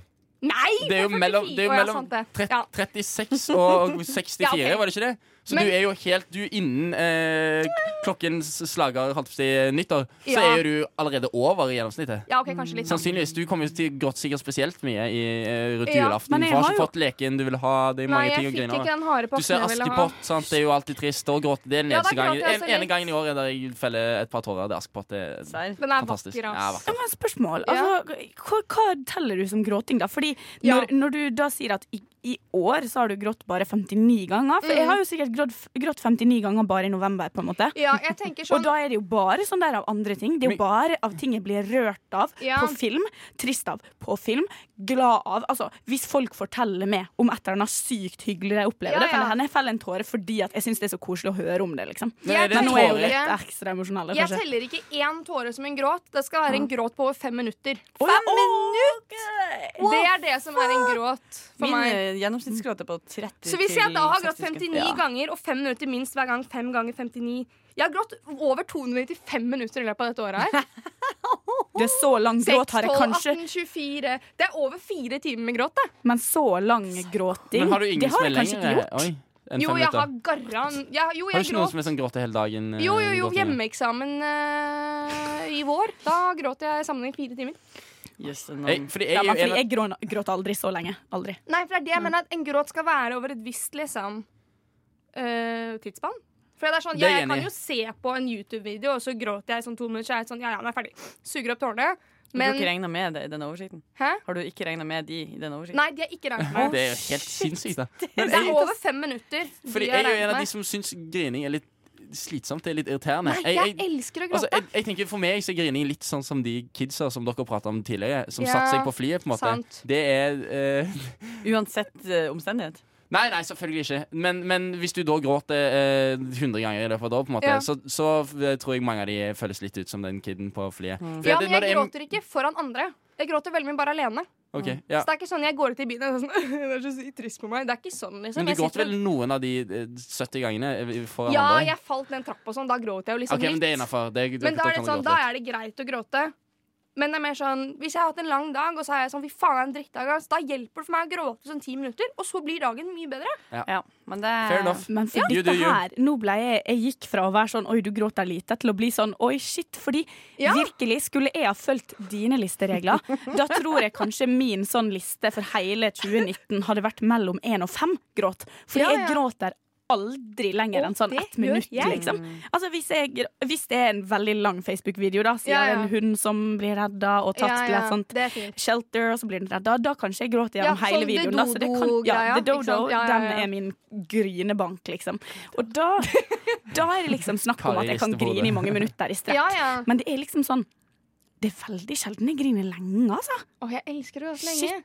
Nei!
Det er jo mellom, det er jo mellom 30, 36 og 64,
Ja, ok.
var det ikke det? Så
Men-
du er jo helt du innen eh, klokkens slager holdt på å si, nyttår, så
Ja.
er jo du allerede over gjennomsnittet.
Ja, ok, kanskje litt, sånn. da.
Sannsynligvis. Du kommer jo til å gråte sikkert spesielt mye i, eh, rundt
Ja, men
julaften. For
jeg
du har
har
ikke
jo-
fått leken du vil ha. Det er
Nei,
mange
jeg
ting å
fikk
grine
ikke den harde
over.
pakken
Du ser
jeg ville ha.
Askepott, sant. Det er jo alltid trist å gråte. Det er den
Ja, da
eneste gangen.
gråter jeg
En,
så
ene
litt.
gangen i året der jeg feller et par tårer. Det er Askepott. Det er
Den er
fantastisk.
vakker, ass.
Ja, vakker.
Men spørsmål. Altså, hva, hva teller du som gråting, da? Fordi når, når du da sier at i, i år så har du grått bare 59 ganger For jeg har jo sikkert grått, grått 59 ganger bare i november, på en måte.
Mm. Ja, jeg tenker sånn-
Og da er det jo bare sånn der av andre ting. Det er jo bare av ting jeg blir rørt av
Ja.
på film. Trist av på film. Glad av Altså, hvis folk forteller meg om et eller annet sykt hyggelig de opplever,
Ja,
det kan
ja.
det hende jeg feller en tåre fordi at jeg syns det er så koselig å høre om det, liksom.
Men er det
Men nå er jeg jo
tårer?
litt ekstra emosjonell,
Jeg
kanskje.
teller ikke én tåre som en gråt. Det skal være en gråt på over fem minutter.
Fem
minutter! Det er det som er en gråt for
Min
meg.
eh, gjennomsnittsgråt er på 30
Så hvis jeg da har grått
til
59
60 sekunder. Ja.
ganger og fem minutter minst hver gang, fem ganger 59 Jeg har grått over 295 minutter i løpet av dette året her.
Det er så lang
6,
gråt
12,
har jeg
18,
kanskje.
24 Det er over fire timer med gråt, det.
Men så lang gråting
Men har du ingen
Det har
som er
jeg kanskje
lengre
ikke gjort.
Oi, enn
Jo,
fem
jeg
minutter?
har garra jeg, Jo,
Har du
jeg
ikke noen
gråt.
som er sånn gråter hele dagen? eh,
Jo, jo, jo.
gråting, ja?
Hjemmeeksamen eh, i vår. Da gråt jeg sammenheng fire timer.
Hey, fordi jeg
ja,
er jo en
men
av-
fordi jeg grå- gråter aldri så lenge. Aldri.
Nei, for det er det jeg mener at en gråt skal være over et visst liksom, eh, tidsspann. For det er sånn,
Det er
ja,
jeg
jeg kan
enig i.
jo se på en YouTube-video, og så gråter jeg i sånn to minutter, så er jeg sånn, ja, ja, nå er jeg ferdig. Suger opp tårene.
Har du
Men
ikke regna med det i den oversikten?
Hæ?
Har du ikke regna med de i den oversikten?
nei, de har ikke regnet
Det
med.
er jo helt sinnssykt, da. Men
Det er
jeg,
over fem minutter. de
fordi
har
jeg er jo en
regnet
av
med.
de som syns grining er litt slitsomt. Det er litt irriterende.
Nei, jeg elsker å gråte.
Altså, jeg, jeg tenker For meg så er grining litt sånn som de kidsa som dere prata om tidligere, som
Ja,
satte seg på flyet, på en måte.
sant.
Det er eh,
Uansett eh, omstendighet?
Nei, nei, selvfølgelig ikke. Men, men hvis du da gråter eh, 100 ganger i løpet av et år, på en måte,
Ja.
så, så eh, tror jeg mange av de føles litt ut som den kiden på flyet. Fordi
Mm. Ja,
at
men
når
jeg
det er-
gråter ikke foran andre. Jeg gråter veldig mye bare alene.
Ok, ja.
Så det er ikke sånn jeg går ut i bilen og er sånn, det er så sykt trist på meg. Det er ikke sånn, liksom.
Men du
Jeg
gråter
sitter
vel noen av de eh, 70 gangene eh,
og-
foran
Ja,
andre?
jeg falt ned en trapp og sånn, da sånn, gråter jeg jo liksom
Ok, men
litt.
det er innafor.
Men da er det sånn, da er det greit å gråte. Men det er mer sånn, hvis jeg har hatt en lang dag, og så er jeg sånn, fy faen, det er en drittdag, ass, da hjelper det for meg å gråte sånn ti minutter, og så blir dagen mye bedre.
Ja.
men det
Fair enough.
Men for
Ja. You
dette
do you.
her, nå ble jeg, jeg gikk fra å være sånn 'oi, du gråter lite', til å bli sånn 'oi, shit'. Fordi
Ja.
virkelig, skulle jeg ha fulgt dine listeregler, da tror jeg kanskje min sånn liste for hele 2019 hadde vært mellom én og fem gråt. Fordi
Ja, ja.
jeg gråter aldri lenger enn sånn
det
ett minutt,
gjør jeg.
liksom. Altså, hvis, jeg, hvis det er en veldig lang Facebook-video, da, sier
Ja,
det
ja.
en hund som blir redda og tatt
Ja,
til
ja,
et sånt
det er fint.
shelter, og så blir den redda, da kanskje jeg gråter
Ja,
gjennom hele
sånn det
videoen. Da, så det kan, ja,
dodo-greia,
det
ikke
dodo,
sant? Ja, ja, ja.
den er min grinebank, liksom. Og da, da er det liksom snakk om
Kari
at jeg kan
rister på
grine
hodet.
i mange minutter i strekk.
Ja, ja.
Men det er liksom sånn Det er veldig sjelden jeg griner lenge, altså.
Åh, jeg elsker å gråte lenge.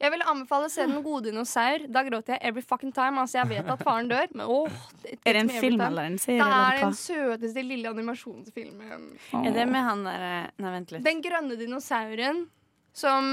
Jeg vil anbefale serien Den gode dinosaur. Da gråter jeg every fucking time. Altså, jeg vet at faren dør, men åh. it
Er det
hits
en
me every
film
time.
eller en serie,
Det
eller
er
hva?
den søteste lille animasjonsfilmen.
Er det med han der eh, Nei, vent litt.
Den grønne dinosauren som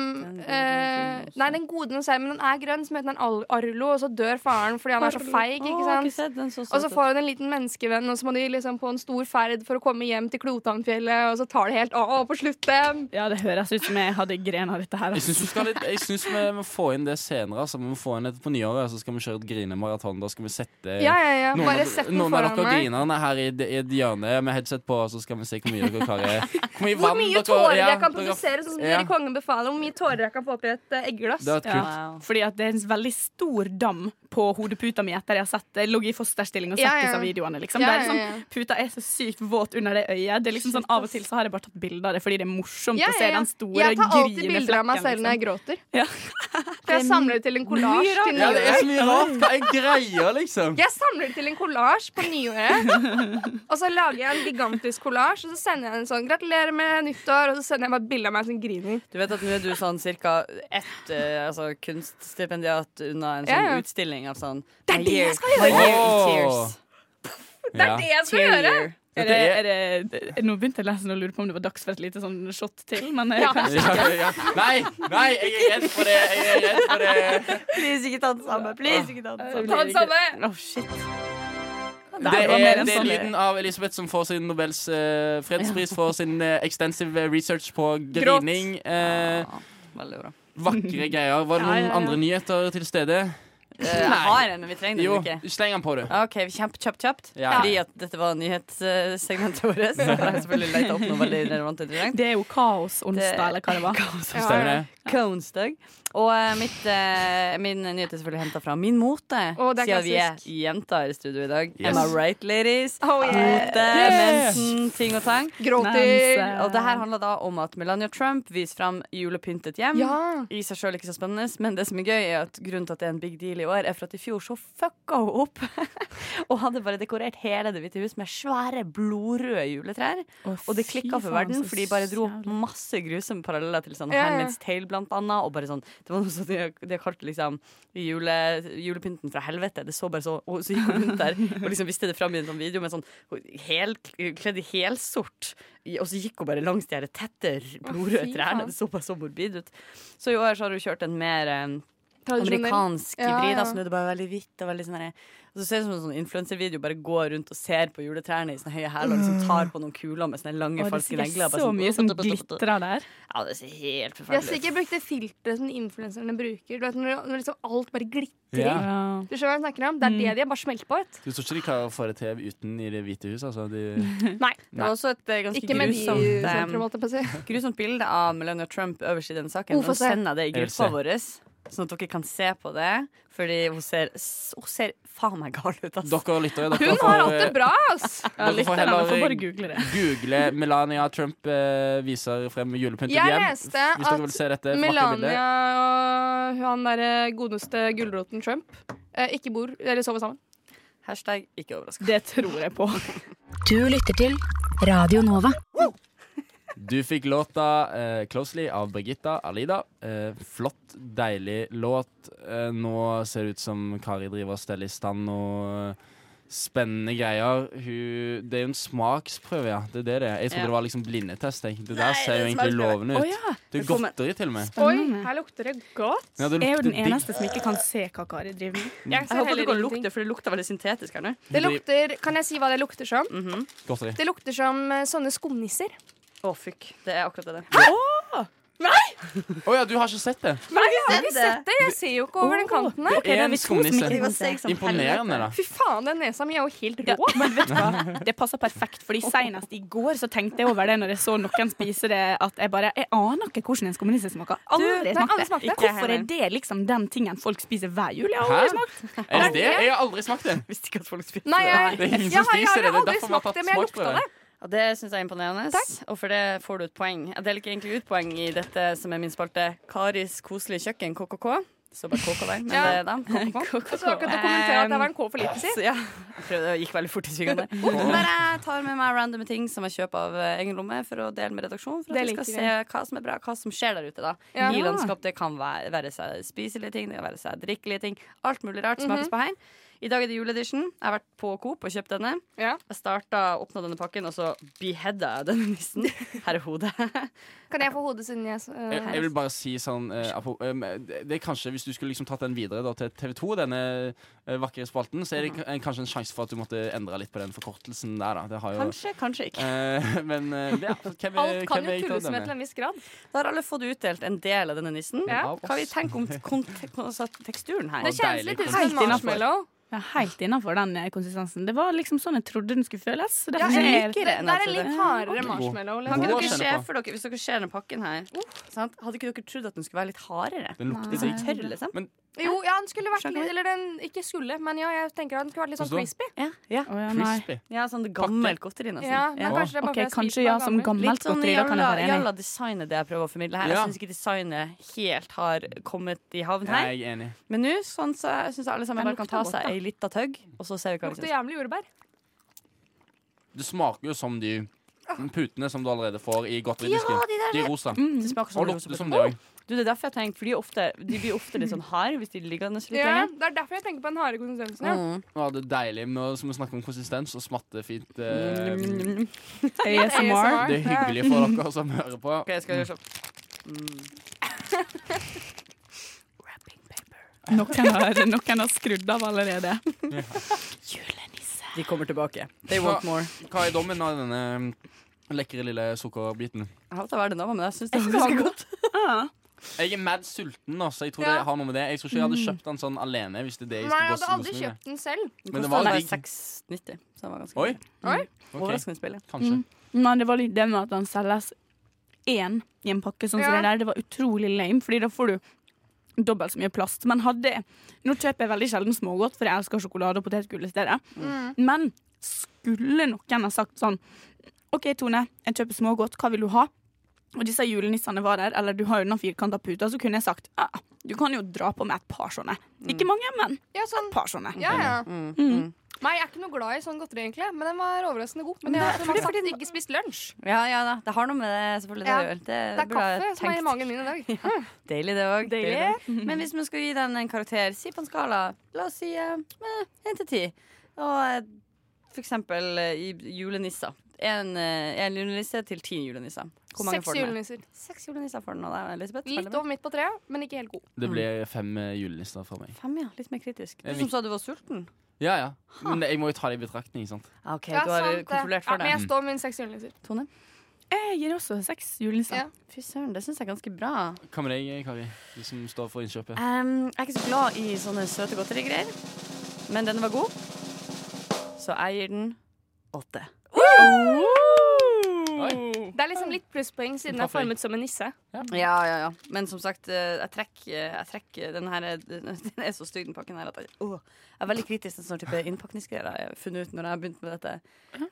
eh, Nei, den gode dinosauren, men den er grønn, som heter den Al- Arlo, og så dør faren fordi han er så
Arlo.
feig,
Å,
ikke
jeg har ikke
sant?
sett den, så søt
og så
ut.
får hun en liten menneskevenn, og så må de liksom på en stor ferd for å komme hjem til Klotanfjellet, og så tar det helt av på slutten.
Ja, det høres ut som jeg hadde gren av dette her.
Jeg syns, vi skal litt, jeg synes vi må få inn det senere. Altså. Vi må få inn det på nyåret, så skal vi kjøre et grinemaraton. Da skal vi sette
Ja, ja, ja.
Eh, noen,
Bare
av-
sett den
noen av
foran
dere
meg.
grinerne her i, i et hjørne med headset på, så skal vi se hvor mye dere klarer. Hvor mye,
Hvor
vann
mye
dere-
tårer
ja,
jeg kan
dere-
produsere, sånn som
ja.
dere i Kongen befaler. Hvor mye tårer jeg kan få oppi et eh, eggglass.
Det er et kult.
Fordi at det er en veldig stor dam på hodeputa mi etter jeg har sett Jeg lå i fosterstilling og sett
Ja, ja.
disse videoene. Liksom.
Ja,
Det er
ja, ja.
sånn
liksom, puta er så sykt våt under det øyet. Det er liksom sånn, av og til så har jeg bare tatt bilde av det fordi det er morsomt
Ja, ja,
å se
ja.
den store
Jeg tar alltid
grineflekken,
bilder av meg selv når jeg
liksom.
gråter. For jeg samler det til en kollasj
Mye rart.
til
Ja, det er så mye
nyåret.
rart. Hva er greia, liksom?
Jeg samler det til en kollasj på nyåret. Og så lager jeg en gigantisk kollasj, og så sender jeg en sånn 'gratulerer med nyttår', og så sender jeg bare et bilde av meg som griner.
Du vet at nå er du sånn ca. ett eh, altså, kunststipendiat unna en sånn
Ja, ja.
utstilling av sånn
Det er
My
det jeg
year-
skal
my
gjøre!
year in
Åh.
tears.
Det er det jeg skal
Tear
gjøre.
year. Er det, er det, er- nå begynte jeg nesten å lure på om det var dags for et lite sånn shot til, men eh,
Ja.
kanskje
Ja, ja. Nei, nei, jeg er redd for det. Jeg er redd for det.
Please, ikke ta den samme. Please, ikke ta
samme. Ta den samme.
Oh, shit.
Det
Det var mer
er,
enn
det er
sånn.
lyden av Elisabeth som får sin Nobels eh, fredspris for sin eh, extensive research på
Gråt.
grining. Eh,
Veldig bra.
vakre greier. Var det
Ja,
noen
ja, ja.
andre nyheter til stede?
Eh, Jeg har en, men vi trenger den
Jo,
ikke.
sleng den på, du.
OK, kjapt, kjapt, kjapt.
Ja.
Fordi at dette var nyhetssegmentet vårt. Så har jeg selvfølgelig lett opp noe veldig relevant og interessant.
Det er jo kaos onsdag, eller hva det var.
Ja, ja. Kaonsdag. Og eh, mitt, eh, min nyhet er selvfølgelig henta fra min mote,
Å, det er
siden vi er
klassisk.
jenter i studio i dag.
Yes.
Am I right, ladies?
Oh, yeah.
Mote,
Yeah.
mensen, ting og tang.
Gråter. Mensen.
Og det her handler da om at Melania Trump viser fram julepyntet hjem. I seg sjøl ikke så spennende, men det som er gøy, er at grunnen til at det er en big deal i år, er for at i fjor så fucka hun opp og hadde bare dekorert hele Det hvite hus med svære blodrøde juletrær. og det
fy
klikka for
faen,
verden,
så
for de bare dro opp masse grusomme paralleller til sånn
Ja, ja.
Handmaid's Tale, blant annet. Og bare sånn, det var noe sånt de, de kalte liksom jule, julepynten fra helvete. Det så bare så Og så gikk hun rundt der og liksom viste det fram i en sånn video med sånn hel, kledd i helsort. i- Og så gikk hun bare langs de her tette, blodrøde
fy
trærne.
faen.
Det så bare så morbid ut. Så i år så har hun kjørt en mer eh,
Tradisjonell.
amerikansk
Ja,
hybrid.
ja.
Altså, nå er det bare veldig hvitt og veldig sånn herre- og så ser det ut som en sånn influenservideo bare går rundt og ser på juletrærne i sånne høye hæler og liksom tar på noen kuler med sånne lange,
Og det er
falske negler.
sikkert
bare
så
sånn-
mye som glitrer der.
Ja, det ser helt
Jeg har
forferdelig ut.
sikkert brukt det filteret som influenserne bruker. Du vet, når, når liksom alt bare glitrer.
Ja.
Du skjønner hva jeg snakker om? Det
Mm.
er det de har bare smelt på. Vet.
Du tror ikke de klarer å få det til uten i Det hvite hus? Altså. De...
Nei.
Det var også et eh, ganske
Ikke med de
grusomt, eh,
filtrene, holdt jeg på å si.
grusomt bilde av Melania Trump øverst i den saken.
Oh, få
Nå
se.
sender jeg det i
Jeg vil se.
gruppa vår, sånn at dere kan se på det. Fordi hun ser, s- hun ser faen meg gal ut, altså.
Dere lytter, dere
Hun
får,
har alt
eh,
det bra, ass. Ja,
Dere får
lytterne,
heller
dere får bare google det.
google Melania Trump eh, viser frem julepyntet
Jeg
hjem.
leste
Hvis dere vil se
at
dette vakre
Melania
bildet.
og han derre godeste gulroten Trump eh, ikke bor eller sover sammen.
Hashtag ikke overraska.
Det tror jeg på.
Du lytter til Radio Nova.
Du fikk låta eh, 'Closely' av Birgitta Alida. Eh, flott, deilig låt. Eh, nå ser det ut som Kari driver og steller i stand noe eh, spennende greier. Hun, det er jo en smaksprøve, ja. Det er det det er. Jeg trodde
Ja.
det var liksom blindetest. Jeg. Det
Nei,
der ser jo
det er
egentlig
smaksprøve.
lovende ut.
Å, ja.
Det er
Velkommen.
godteri, til og med.
Oi, her lukter det godt.
Ja, det
jeg er jo
lukter
den
digg.
eneste som ikke kan se hva Kari driver med.
Mm.
Jeg ser
Jeg håper
heller
du kan
ingenting.
lukte, for det lukter veldig syntetisk her nå.
Det lukter, Kan jeg si hva det lukter
Mm.
som?
Godteri.
Det lukter som eh, sånne skumnisser.
Å, fuck. Det er akkurat det.
Å, Nei!
Å ja, du har ikke sett det?
Nei, jeg har ikke sett det. Jeg ser jo ikke over den kanten her.
Ok, da er vi to som ikke kan se. Imponerende, da.
Fy faen, den nesa mi er jo helt rå.
men vet du hva? Det passer perfekt, fordi senest i går så tenkte jeg over det når jeg så noen spise det, at jeg bare Jeg aner ikke hvordan en skumnisse smaker.
Du,
Aldri
nei,
smakt
aldri
det.
smakt det.
Hvorfor er det liksom den tingen folk spiser hver jul? Jeg har
Hæ?
aldri smakt.
Er det det? Jeg har aldri smakt det.
Visste ikke at folk spiste
Nei, jeg-
Det er ingen
jeg
som
har- jeg
spiser
har
det. Det er
aldri
derfor vi har
smakt
tatt
det, men jeg lukta
smaksprøve.
Ja, det syns jeg er imponerende, og for det får du et poeng. Jeg deler ikke egentlig ut poeng i dette som er min spalte Karis koselige kjøkken, KKK. Det står bare KK der, men
Ja.
det er dem. KKK.
Jeg så akkurat å kommentere at det var en K for lite, si.
Så ja, jeg prøvde, det gikk veldig fort i svingene. der. Men jeg tar med meg randome ting som jeg kjøper av eh, egen lomme, for å dele med redaksjonen. For
Det
at vi skal
liker
se hva som er bra, hva som skjer der ute. da
Ja.
I landskap. Det kan være, være seg spiselige ting, det kan være seg drikkelige ting. Alt mulig rart som
Mhm.
smakes på her. I dag er det juleedition. Jeg har vært på Coop og kjøpt denne. Jeg starta, åpna denne pakken, og så beheada jeg denne nissen. Her er hodet.
Kan jeg få hodet siden jeg
Jeg, Eh, jeg vil bare si sånn eh, apo- eh, men det, det er kanskje, Hvis du skulle liksom tatt den videre da, til TV 2, denne eh, vakre spalten, så er det k- eh, kanskje en sjanse for at du måtte endre litt på den forkortelsen der. Da. Det har jo,
Kanskje, kanskje ikke.
Eh, men eh, det, hvem, er-
Alt kan
hvem er
jo
jeg til å
tulles med
dømme?
til en viss grad.
Da har alle fått utdelt en del av denne nissen.
Ja.
Hva vi tenker om kont- altså, teksturen her?
Det kjennes litt ut som en marshmallow.
Ja, helt innafor den eh, konsistensen. Det var liksom sånn jeg trodde den skulle føles. så derfor
Ja, jeg
er-
liker det.
Det er en litt hardere marshmallow. Liksom.
Kan ikke dere
kjenner
se
på.
for dere, hvis dere ser den pakken her Mm. sant? Hadde ikke dere trodd at den skulle være litt hardere?
Den lukter
Litt sånn
digg.
tørr, liksom?
Jo, ja, den skulle vært litt
Skjønner du?
Eller den ikke skulle, men ja, jeg tenker at den skulle vært litt sånn
Forstår.
crispy.
Ja, ja.
ja,
nei. Ja, sånn gammelt godteri, nesten.
Ja, men kanskje det er bare
Ok,
fordi jeg
kanskje
spiser
ja,
bare
som gammelt
Litt sånn
godteri, da kan jeg
jalla,
være enig.
jalla designet det jeg prøver å formidle her.
Ja.
Jeg syns ikke designet helt har kommet i havn her.
Jeg er enig.
Men nå sånn, så syns jeg alle sammen
Den
bare kan
lukter
ta
godt,
seg
da.
ei lita tøgg, og så ser vi hva vi
Lukter
syns.
jævlig jordbær.
Det smaker jo som de putene som du allerede får i
Ja,
godteridisken.
de der-
De rosa.
Mm. Det smaker som
Og
de
lukter
rosa
som det
putene.
òg.
Du, det er derfor jeg har tenkt, for de, er ofte, de blir ofte litt sånn harde hvis de ligger litt
Ja,
lenger.
det er derfor jeg tenker på den harde konsistensen. Ja.
Ja, det er deilig med å som vi snakker om konsistens og smatte fint. eh,
ASMR.
Det er hyggelig for dere som hører på.
Ok, jeg skal gjøre sånn.
Noen har, noen har skrudd av allerede.
De kommer tilbake. They
Hva,
want more.
hva er dommen av denne um, lekre lille sukkerbiten?
Jeg hater å være den dama, men jeg syns det var ganske godt.
Jeg er mad sulten, nå, så jeg tror
Ja.
det har noe med det. Jeg tror ikke jeg hadde kjøpt den sånn alene. Hvis det er det jeg
Nei,
skulle
jeg hadde
gå-
aldri
kose meg med.
kjøpt den selv.
Men det var
Kostet
digg.
6,90, så det var ganske
Oi. Mm.
godt.
Oi. Mm.
Ok.
Overraskende spill, ja.
Kanskje.
Men det var litt det med at den selges én i en pakke, sånn som
Ja.
det der. Det var utrolig lame, fordi da får du dobbelt så mye plast. Men hadde Nå kjøper jeg veldig sjelden smågodt, for jeg elsker sjokolade og potetgull i stedet.
Mm.
Men skulle noen ha sagt sånn OK, Tone, jeg kjøper smågodt, hva vil du ha? Og disse julenissene var der, eller du har jo den firkanta puta, så kunne jeg sagt ah, du kan jo dra på med et par sånne.
Mm.
Ikke mange, men
Ja, sånn.
et par sånne.
Ja, ja.
Mm.
Nei, jeg er ikke noe glad i sånn godteri, egentlig. Men den var overraskende god. Men jeg har som sagt ikke spist lunsj.
Ja, ja da. Det har noe med det selvfølgelig
Ja.
det å gjøre. Det,
Det er
burde jeg
kaffe som er i
tenkt.
magen Mm. min i dag. Mm.
Deilig, det òg.
Deilig.
Men hvis man skal gi den en karakter, si på en skala La oss si eh, én til ti. Og eh, for eksempel eh, i julenisser. Én julenisse til ti julenisser. Hvor mange
Seks
får den?
julenisser.
Seks julenisser får den av deg, Elisabeth.
Litt
Veldig bra.
over midt på treet, men ikke helt god.
Det blir fem eh, julenister fra meg.
Fem, ja. Litt mer kritisk. Du
Det er
som sa du var sulten. Ah,
Ja, ja. Men det- jeg må jo ta det i betraktning. sant?
OK,
Ja,
du har
sant det.
kontrollert
Ja,
for
men
deg.
jeg står med mine seks julenisser.
Tone?
Jeg gir også seks julenisser.
Ja.
Fy søren, det syns jeg er ganske bra.
Hva med deg, Kari? Du som står for innkjøpet.
Em, jeg er ikke så glad i sånne søte godterigreier, men denne var god. Så jeg gir den åtte.
Det er liksom litt plusspoeng siden jeg er formet som en nisse.
Ja, ja, ja. Men som sagt, eh, jeg trekker jeg trekk den her Den er så stygg, den pakken her, at jeg, åh, jeg er veldig kritisk til sånn type innpakningsgreier jeg har funnet ut når jeg har begynt med dette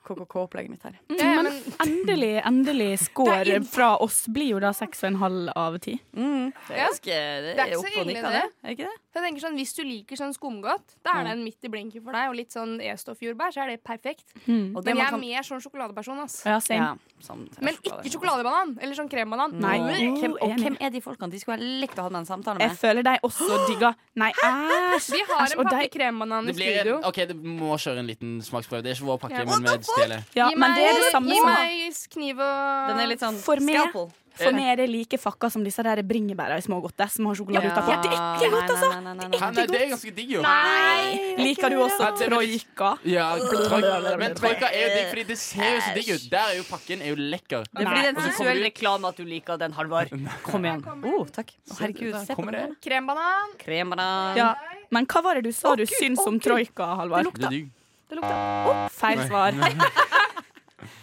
KKK-opplegget mitt her.
Mm, men endelig, endelig score fra oss blir jo da seks og en halv av ti.
Mm, det er
Ja.
ganske Det
Det er
er
ikke så
opp og
ille,
nikka, det.
det.
Er ikke det?
Så jeg tenker sånn, Hvis du liker sånn skumgodt, da er den midt i blinken for deg. Og litt sånn E-stoffjordbær, så er det perfekt.
Mm.
Og det
Men
man
jeg er
kan-
mer sånn sjokoladeperson. ass
Ja, same.
Ja, sånn,
Men ikke sjokoladebanan eller sånn krembanan.
Nei.
Mm.
Hvem, og
enig.
hvem er de folkene? De skulle jeg likt å ha med en samtale
Jeg
med.
føler deg også digga. Nei, æsj!
Vi har en
Æsj, Altså, og
pakke
deg-
krembanan i
Det blir
studio.
en, ok, det må kjøre en liten smaksprøve. Det er ikke vår pakke,
Ja.
men vi stjeler.
Ja,
Gi
men
meg-
det er det samme
Gi
som
meg kniv og
Den er litt sånn
For meg.
scalpel.
For meg er det like fucka som disse der bringebæra i smågodtet som har
Ja.
sjokolade utapå. Det er ikke godt, altså!
Hæ, nei, det er ganske digg, jo.
Nei! Liker du også troika?
Ja, troika- men troika er jo digg, fordi det ser jo så digg ut. Der er jo pakken er jo lekker.
Det er
Og
fordi det er en
så kommer
seksuell
du-
reklame at du liker den, Halvard. Kom igjen. Oh, takk. Å, herregud, se på den.
Krembanan.
Krembanan.
Ja. Men hva var det du sa du syns om troika, Halvard?
Det er digg.
Det lukta Å, feil
Nei.
svar.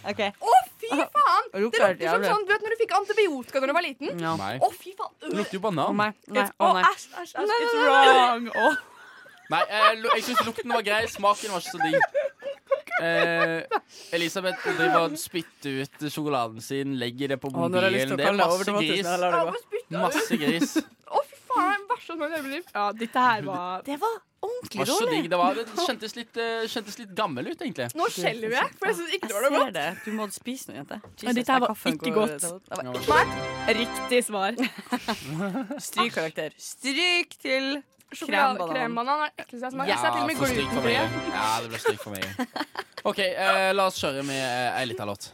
OK.
Å, fy faen! Det
lukter helt
lukter som
jævlig.
sånn, du vet når du fikk antibiotika da du var liten?
Ja.
Nei.
Å, fy faen.
Det lukter jo banan.
Nei,
It's-
å ah,
å,
nei.
Æsj, æsj, æsj.
It's
It's
wrong. Å.
Nei, eh, lu- jeg syns lukten var grei. Smaken var ikke så digg. Eh, Elisabeth driver og spytter ut sjokoladen sin, legger det på
Å, nå har jeg
mobilen.
lyst til å
Det er
kalle
masse
over til Mathisen,
gris.
jeg lar det
gå.
Masse gris.
Faen, verste som jeg har levd.
Ja, dette her var
Det var ordentlig
Var ikke så digg det var. Det kjentes litt, eh, kjentes litt gammel ut, egentlig.
Nå skjelver jeg, for jeg syns ikke det var
Jeg
noe
ser
godt.
det. Du må spise noe, jente.
Men dette her var ikke godt. Riktig svar.
Stryk karakter. Stryk til
Sjokolade-
krembanan.
Krembanan er det ekleste jeg smaker.
Ja,
Jeg ser til og med
for stygt for
glutenfri.
meg. Ja, det ble stygt for meg. OK, eh, la oss kjøre med eh, ei lita låt.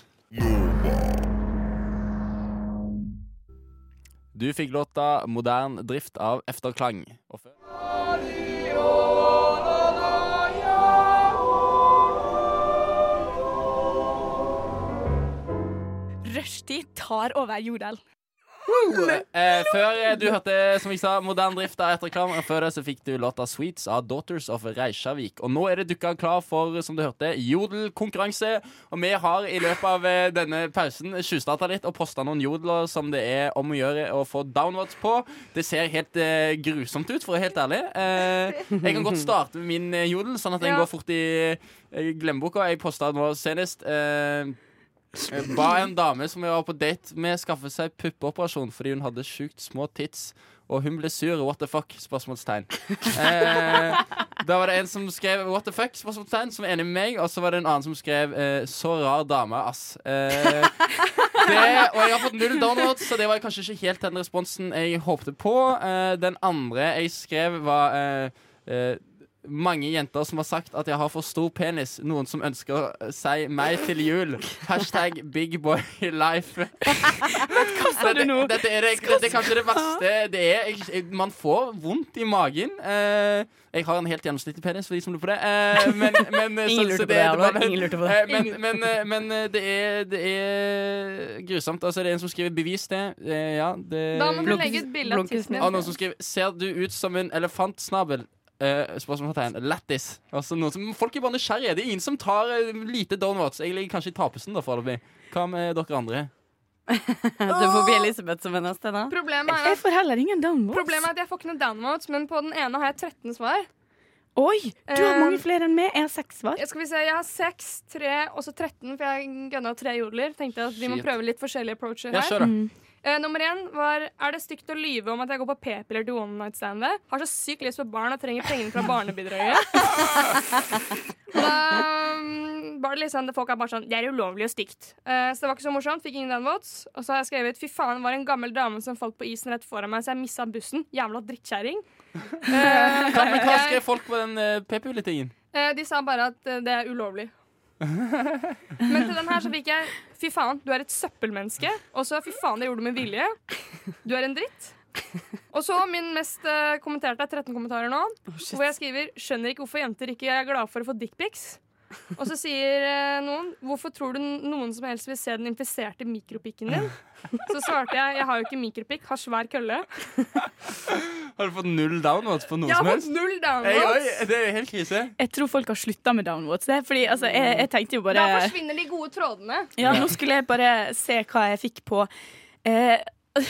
Du fikk låta 'Modern drift av Efterklang'. Og før
Rushtid tar over jodel.
Eh, før eh, du hørte, som jeg sa, moderne drift av etterklam. Og før det så fikk du låta 'Sweets' av Daughters of Reykjavik. Og nå er det dukka klar for, som du hørte, jodelkonkurranse. Og vi har i løpet av eh, denne pausen tjuvstarta litt og posta noen jodler som det er om å gjøre å få downwards på. Det ser helt eh, grusomt ut, for å være helt ærlig. Eh, jeg kan godt starte med min eh, jodel, sånn at den
Ja.
går fort i eh, glemmeboka. Jeg posta nå senest. Eh, jeg ba en dame som jeg var på date med, skaffe seg puppeoperasjon fordi hun hadde sjukt små tits. Og hun ble sur. What the fuck? Spørsmålstegn. Eh, da var det en som skrev what the fuck? Spørsmålstegn, som er enig med meg. Og så var det en annen som skrev eh, så rar dame, ass. Eh, det, og jeg har fått null downloads, så det var kanskje ikke helt den responsen jeg håpte på. Eh, den andre jeg skrev, var eh, eh, mange jenter som har sagt at jeg har for stor penis. Noen som ønsker seg meg til jul. Hashtag big boy life. hva sa du nå? Dette, dette, er, det- dette er kanskje det verste det er. Jeg- Jeg, man får vondt i magen. Eh, jeg har en helt gjennomsnittlig penis, for de som lurer på det. Eh, men, men, eh,
Ingen
så-
lurte
så
på det, Alvar.
bare-
Ingen lurte på det.
Eh, Men, men, eh, men eh, det, er, det er grusomt. Altså, det er en som skriver 'bevis det'. Eh, ja, det
Da må du legge et bilde av tissen
og noen
din.
som skriver 'Ser du ut som en elefantsnabel?' Uh, Spørsmålstegn. Lættis. Altså, noen som- folk er bare nysgjerrige. Det er ingen som tar eh, lite downwards. Jeg ligger kanskje i tapersen, da, foreløpig. Hva med dere andre?
Du får bli Elisabeth som er neste, da.
Problemet er,
Jeg
at,
får heller ingen downvotes.
problemet er at jeg får ikke noen downvotes, men på den ene har jeg 13 svar.
Oi, du
Eh,
har mange flere enn meg. Jeg har seks svar.
Jeg, skal vi se, jeg har 6, 3 og så 13, for jeg gønna tre jodler. Tenkte at vi må
Shit.
prøve litt forskjellige approacher
Ja, kjør, da.
her. Eh, nummer én var Er det stygt å lyve om at jeg går på p-piller til one night stand ved? Har så sykt lyst på barn og trenger pengene fra barnebidraget. Og da mm, var det liksom Folk er bare sånn Det er ulovlig og stygt. Eh, så det var ikke så morsomt. Fikk ingen downvotes. Og så har jeg skrevet Fy faen, var en gammel dame som falt på isen rett foran meg, så jeg missa bussen. Jævla drittkjerring. Eh,
Hva, men hva
jeg-
skrev folk på den uh, p-pulletingen?
Eh, De sa bare at eh, det er ulovlig. Men til den her så fikk jeg Fy faen, du er et søppelmenneske. Og så fy faen, det gjorde du med vilje. Du er en dritt. Og så min mest eh, kommenterte er 13 kommentarer nå,
Oh,
hvor jeg skriver Skjønner ikke hvorfor jenter ikke er glade for å få dickpics. Og så sier eh, noen Hvorfor tror du n- noen som helst vil se den infiserte mikropikken din? Så svarte jeg Jeg har jo ikke mikropikk, har svær kølle.
Har du fått null downwards på noe
Jeg
som
har
helst?
fått null
Hey,
downloads.
oi, det er helt krise.
Jeg tror folk har slutta med downvotes. det, Fordi altså, jeg, jeg tenkte jo bare
Da forsvinner de gode trådene.
Ja, nå skulle jeg bare se hva jeg fikk på eh,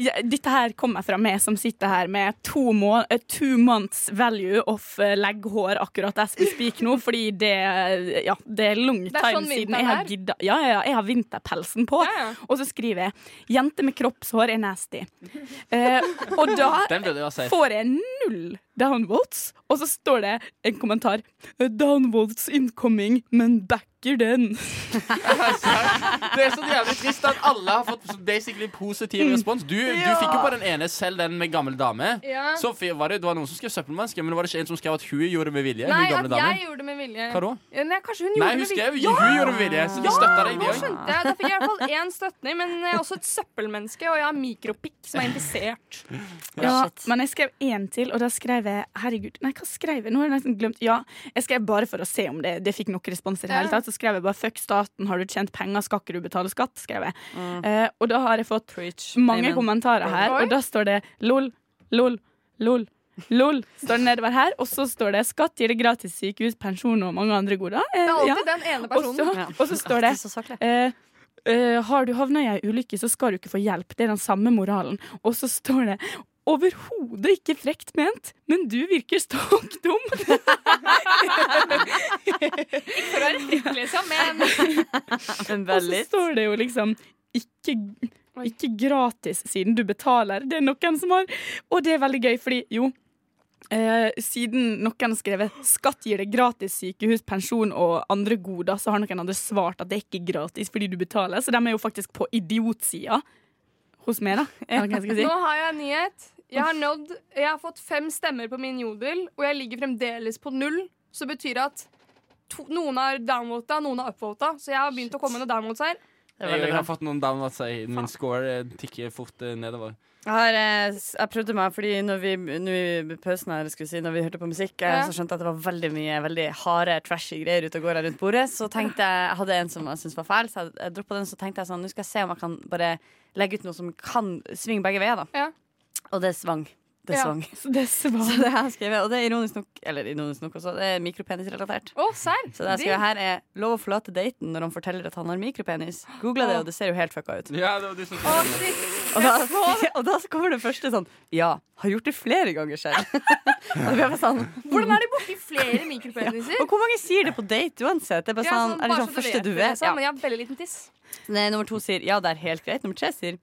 ja, Dette her kommer fra meg som sitter her med to, må eh, two months value of eh, legghår akkurat as we speak nå, fordi det, eh, ja, det er long
er
time
sånn
siden
vinteren
jeg har
er.
gidda. Ja, ja, ja, jeg har vinterpelsen på.
Ja, ja.
Og så skriver jeg 'Jente med kroppshår er nasty'. Eh, og da
Den burde jeg ha sett.
får jeg null downvotes, og så står det en kommentar Downvotes incoming, men backer den.
Det er så jævlig trist at alle har fått så basically positiv respons. Du, du
Ja.
fikk jo på den ene selv, den med gammel dame.
Ja.
Så fi- var det, det var noen som skrev søppelvanske, men det var det ikke en som skrev at hun gjorde det med vilje?
Nei,
hun
at
gamle damen.
jeg gjorde det med vilje.
Hva da?
Ja, Nei, kanskje hun
Nei,
gjorde
hun
det med
skrev
vilje.
jo hun gjorde det med vilje, så de støtta deg. de
Nå
også.
skjønte jeg. Da fikk jeg i hvert fall én støtning, men jeg er også et søppelmenneske, og jeg har mikropikk som er infisert.
Ja, men jeg skrev én til, og da skrev jeg Herregud, nei, hva skrev jeg? Nå har jeg nesten glemt. Ja, jeg skrev bare for å se om det, det fikk nok respons i det hele tatt. Så skrev jeg bare 'fuck staten, har du tjent penger, skal ikke du betale skatt'? skrev jeg. Eh, og da har jeg fått mange
Mm. Amen.
kommentarer her,
Oi.
og da står det lol, lol, lol. Lol, står det nedover her, og så står det 'Skatt gir det gratis sykehus, pensjon og mange andre goder'. Eh,
Det er alltid
ja.
den ene personen.
Og så,
Ja.
og så står
Det er
det eh, eh, Har du havna i ei ulykke, så skal du ikke få hjelp. Det er den samme moralen. Og så står det Overhodet ikke frekt ment, men du virker stokk dum.
Ikke for å være frekk, liksom, men
Og så står det jo liksom ikke, ikke gratis siden du betaler. Det er noen som har Og det er veldig gøy, fordi jo eh, siden noen har skrevet 'skatt gir deg gratis sykehus, pensjon og andre goder', så har noen andre svart at det er ikke gratis fordi du betaler. Så de er jo faktisk på idiotsida hos meg, da. Eller hva jeg skal si.
Nå har jeg en nyhet. Jeg har, nådd, jeg har fått fem stemmer på min jodel, og jeg ligger fremdeles på null. Så betyr det at to, noen har downvota, noen har upvota. Så jeg har begynt å komme med noen downvotes her.
Jeg, jeg har fått noen downvotes. jeg- Min score eh, tikker fort eh, nedover.
Jeg, har, eh, s- jeg prøvde meg, fordi når vi, nå i pausen her, skulle jeg si, når vi hørte på musikk, eh,
Ja.
så skjønte jeg at det var veldig mye veldig harde, trashy greier ute og går her rundt bordet. Så tenkte jeg, jeg hadde en som jeg syntes var fæl, så jeg, jeg droppet den. Så tenkte jeg sånn, nå skal jeg se om jeg kan bare legge ut noe som kan svinge begge veier, da. Og det svang. Det
Ja.
svang.
Så det er svang.
Så det har jeg skrevet, og det er ironisk nok, eller ironisk nok også, det er mikropenisrelatert.
Å, serr?
Så det jeg skrev her er lov å forlate daten når han forteller at han har mikropenis. Google det, og det ser jo helt fucka ut.
Ja, det var du som
Og da, og da kommer det første sånn Ja, har gjort det flere ganger selv. og det blir sånn,
Hvordan er de borti flere mikropeniser?
og hvor mange sier det på date uansett? Det er bare
Ja,
sånn, er det sånn
bare så
første du
det,
vet?
liksom. Men
Ja.
jeg har veldig liten tiss.
Nei, nummer to sier ja, det er helt greit. Nummer tre sier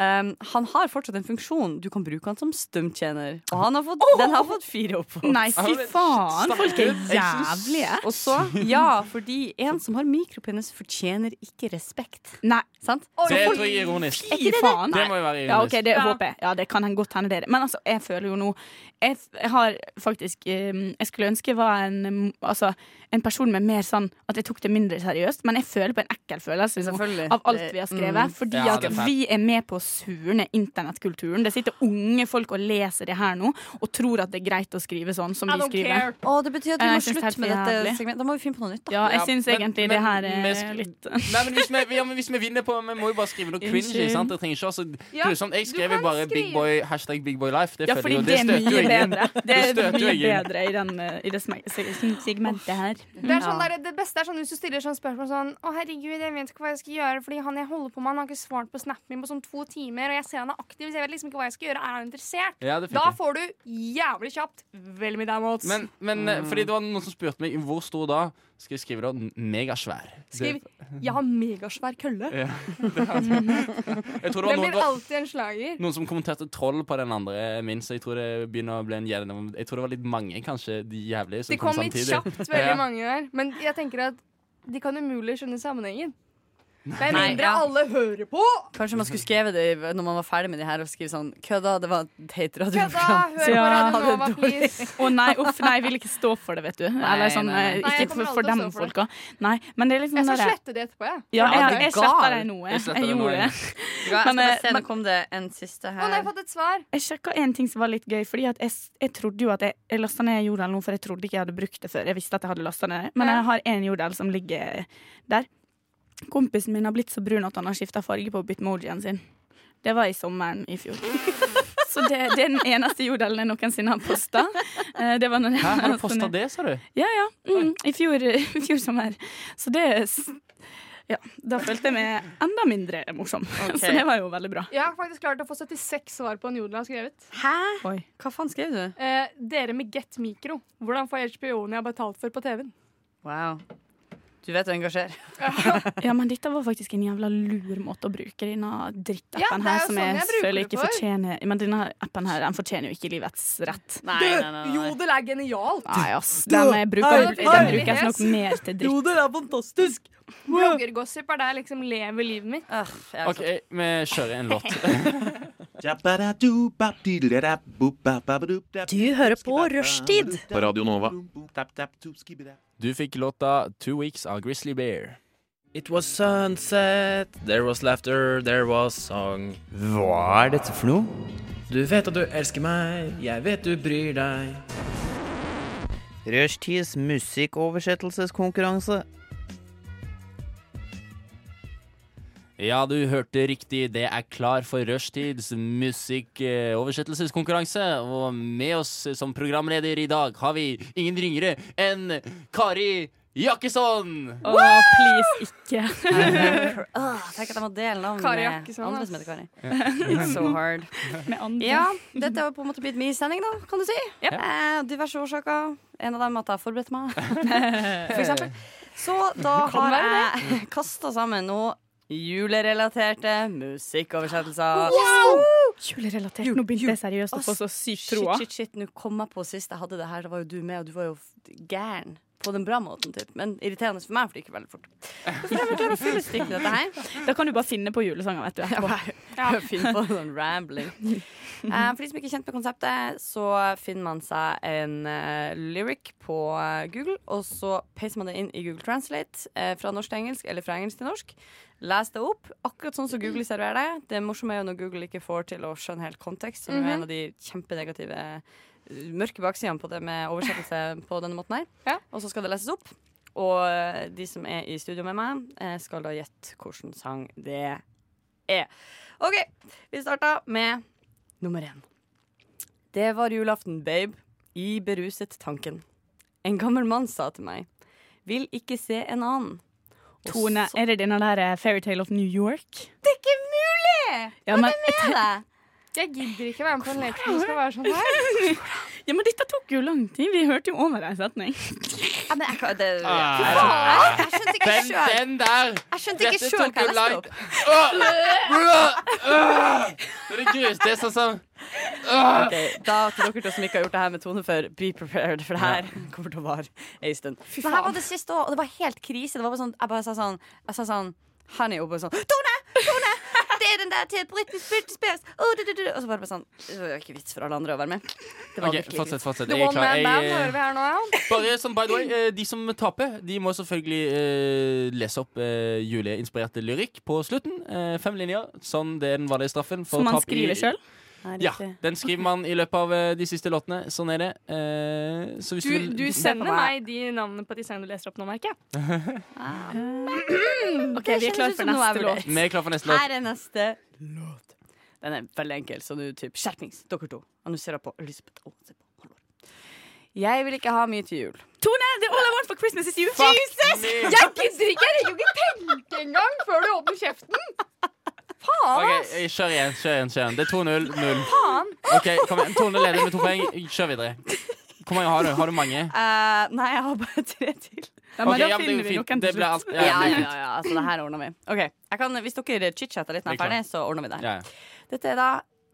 ehm, han har fortsatt en funksjon. Du kan bruke han som stumtjener. Og han har fått, den har fått fire opphold.
Nei, fy faen, folk er jævlige.
Og så, ja, fordi en som har mikropenis, fortjener ikke respekt.
Nei.
Sant?
Det
Så folk-
tror jeg er ironisk.
Er ikke det
faen.
Det må jo være ironisk.
Ja, ok, det håper jeg. Ja, det kan han godt hende det. er det. Men altså, jeg føler jo nå Jeg, f- jeg har faktisk eh, Jeg skulle ønske jeg var en, mm, altså, en person med mer sånn at jeg tok det mindre seriøst, men jeg føler på en ekkel følelse nå,
Selvfølgelig.
av alt
Det-
vi har skrevet.
mm.
Fordi
Ja,
at
det er fælt.
vi er med på å surne internettkulturen. Det sitter unge folk og leser det her nå og tror at det er greit å skrive sånn som
I
vi
don't
skriver.
care. Å, det betyr at vi
Nei,
må
jeg synes det er
slutte med
helt
dette
jævlig.
segmentet. Da må vi finne på noe nytt, da.
Ja, jeg syns
men-
egentlig
men
det her
vi
er
sk-
litt
Nei, men hvis vi, ja, men hvis vi vinner på Vi må jo bare skrive noe cringe.
Unnskyld.
ikke sant? Det trenger ikke være så
Ja,
grusomt. Jeg
du
skrev
kan
jo bare big
skrive.
boy, hashtag big boy life. Det
ja,
føler jeg jo-
fordi det er
støter jo
mye
ingen.
bedre. Det er
støter jo
mye
ingen.
bedre i, den, eh, i det sm- segmentet her.
Det, er sånn
Ja.
der, det beste er sånn hvis du stiller sånn spørsmål sånn Å, herregud, jeg vet ikke hva jeg skal gjøre, fordi han jeg holder på med, han har ikke svart på snappen min på sånn to timer, og jeg ser han er aktiv, så jeg vet liksom ikke hva jeg skal gjøre. Er han interessert?
Ja, det er fint,
da
det.
får du jævlig kjapt Vel mye downvotes.
Men, men eh, fordi det var noen som spurte meg hvor stor da, skal jeg skrive da N- megasvær. Det-
Skriv 'Jeg har megasvær kølle'.
Ja, det hadde jeg. Jeg tror det var
Den
noen,
blir alltid en slager.
noen som kommenterte troll på den andre eh, min, så jeg tror det begynner å bli en gjennom... Jeg tror det var litt mange, kanskje, de jævlige som
Det kom litt
samtidig.
kjapt,
Ja.
veldig mange der. Men jeg tenker at de kan umulig skjønne sammenhengen. Med
Nei,
mindre
ja.
alle hører på!
Kanskje man skulle skrevet det i- når man var ferdig med de her, og skrive sånn Kødda, det var et teit
Kødda,
radioprogram.
hør på Radio Nova, please.
Å nei, uff, nei, jeg vil ikke stå for det, vet du. Eller sånn,
nei, nei.
eh,
Nei, jeg
ikke
kommer
for, for
aldri
dem
til å stå for det.
folka. Nei, men det er liksom
Jeg skal
det der-
slette det etterpå, jeg.
Ja,
Ja,
jeg,
du er
jeg, sletter
gal.
det nå. Jeg,
Jeg sletter
jeg
det nå,
gjorde
jeg.
det.
Ja, jeg skal
Men, eh,
bare se, nå
men-
kom det en siste
Å, nå har
her.
jeg fått et svar.
Jeg sjekka en ting som var litt gøy, fordi at jeg, s- jeg trodde jo at jeg, jeg lasta ned jordel nå, for jeg trodde ikke jeg hadde brukt det før. Jeg visste at jeg hadde lasta ned det, men jeg har en jordel som ligger der. Kompisen min har blitt så brun at han har skifta farge på bitmojien sin. Det var i sommeren i fjor. Så det, det er den eneste jordelen jeg noensinne har posta. Det var når jeg
Hæ, har du
lastet
posta
ned.
det, sa du?
Sånn Ja, ja. Mm, i, fjor, I fjor sommer. Så det s- Ja, da følte jeg meg enda mindre morsom. Så det var jo veldig bra.
Jeg har faktisk klart å få 76 svar på en jodel jeg har skrevet.
Oi.
Hva faen skrev du?
Eh, dere med Get Mikro. Hvordan får HBO-en jeg har betalt for, på TV-en?
Wow. Du vet å engasjere.
Ja, men dette var faktisk en jævla lur måte å bruke denne
Ja,
drittappen
det er
her,
jo
som
sånn
jeg,
jeg bruker
føler
det
ikke
for.
fortjener Men denne appen her, den fortjener jo ikke livets rett.
Jodel er genialt!
Nei, ass. Den jeg bruker,
Nei,
den
nei.
bruker jeg nok mer til dritt.
Jodel er fantastisk! Bloggergossip er der jeg liksom lever livet mitt.
OK, vi kjører en låt.
Du hører på Rushtid.
På Radio Nova. Du fikk låta 'Two Weeks' av Grizzly Bear.
It was sunset, there was laughter, there was song.
Hva er dette for noe?
Du vet at du elsker meg, jeg vet du bryr deg.
Rushtids musikkoversettelseskonkurranse.
Ja, du hørte riktig. Det er klar for Rushtids musikkoversettelseskonkurranse. Og med oss som programleder i dag har vi ingen ringere enn Kari Jakkesson!
Å, please, ikke.
Åh, tenk at jeg må dele navn
Kari
med
Jakkesson,
andre
ass.
som heter Kari.
Ja.
It's so hard.
andre.
Ja, dette har jo på en måte blitt min sending, da, kan du si. Eh, diverse årsaker. En av dem at jeg har forberedt meg, for eksempel. Så da
Kan
har
være
jeg kasta sammen noe julerelaterte musikkoversettelser.
Julerelatert. Nå begynte jeg seriøst å få så sykt troa.
Shit, shit, shit, nå kom jeg på sist jeg hadde det her, da var jo du med, og du var jo f- gæren. På den bra måten, typ. men irriterende for meg, for det gikk veldig fort. Hvorfor er jeg klarer å fylle stykket dette her?
Da kan du bare finne på julesanger, vet du. Etterpå.
Ja. Finn på sånn rambling. Eh, for de som ikke er kjent med konseptet, så finner man seg en eh, lyric på eh, Google, og så peiser man det inn i Google Translate eh, fra norsk til engelsk eller fra engelsk til norsk. Les det opp, akkurat sånn som Google serverer det. Det morsomme er jo når Google ikke får til å skjønne helt kontekst, som
Mhm.
er en av de kjempenegative eh, mørke baksidene på det med oversettelse på denne måten her. Og så skal det leses opp. Og eh, de som er i studio med meg, eh, skal da gjette hvilken sang det er. OK, vi starter med nummer én. Det var julaften, babe, i beruset tanken. En gammel mann sa til meg, vil ikke se en annen. Og
Tone,
så-
er det denne der eh, Fairytale of New York?
Det er ikke mulig!
Ja,
Hva
men-
er det med deg?
Jeg gidder ikke være med på en lek som skal være sånn her.
Ja, men dette tok jo lang tid. Vi hørte jo over en setning.
Ja, men jeg, kan- det,
Ah.
jeg skjønte ikke
Den-
selv.
den der.
Jeg skjønte ikke
Dette
selv
tok
hva jeg
jo
leste
lang-
opp.
Dere gruste, det er sånn som
Ok, da til dere to som ikke har gjort det her med Tone før, be prepared, for det her kommer til å vare ei stund.
Fy
Det her
faen.
var det siste òg, og det var helt krise. Det var bare sånn, jeg bare sa sånn, jeg sa sånn Honey, og bare sånn Tone! Tone! Det er den der til Britney Spears! Spears. Oh, du, du, du. Og så var det bare sånn Det var ikke vits for alle andre å være med. Det var
Ok,
virkelig
fortsett,
vits.
fortsett. The Jeg er one klar. man Jeg, band eh, hører vi her Bare som by the way, eh, de som taper, de må selvfølgelig eh, lese opp eh, juleinspirerte lyrikk på slutten. Eh, fem linjer. Sånn den var det i straffen. for
Som man
tap i-
skriver sjøl?
Ja. Den skriver man i løpet av eh, de siste låtene. Sånn er det. Eh, så hvis
Du,
vil-
du sender meg de navnene på de sangene du leser opp nå, merker jeg.
OK, vi er klar for neste låt.
Vi er klar for neste låt.
Her er neste låt. Den er veldig enkel, så nå typ skjerpings, dere to. Annonserer på Elisabeth og se på Halvor. Jeg vil ikke ha mye til jul.
Tone, the all I want for Christmas is you.
Fuck
Jesus!
me.
Jeg
Jeg gidder ikke! Jeg rekker jo ikke tenke engang før du åpner kjeften! Faen,
Ok,
ass!
eh, Kjør igjen, kjør igjen. kjør igjen Det er 2-0. null.
Faen.
Ok, kom igjen. Tone leder med to poeng. Kjør videre. Hvor mange har du? Har du mange?
Eh, nei, jeg har bare tre til.
Ja, men Ok, da ja, men det finner er jo vi fint. noen til Det ble slutt. alt- ja,
ja, ja,
det er
ja, ja, altså, det her ordner vi. Ok, jeg kan, Hvis dere chit-chatter litt når jeg
Det er
er ferdig, så ordner vi det.
Ja, ja.
Dette er da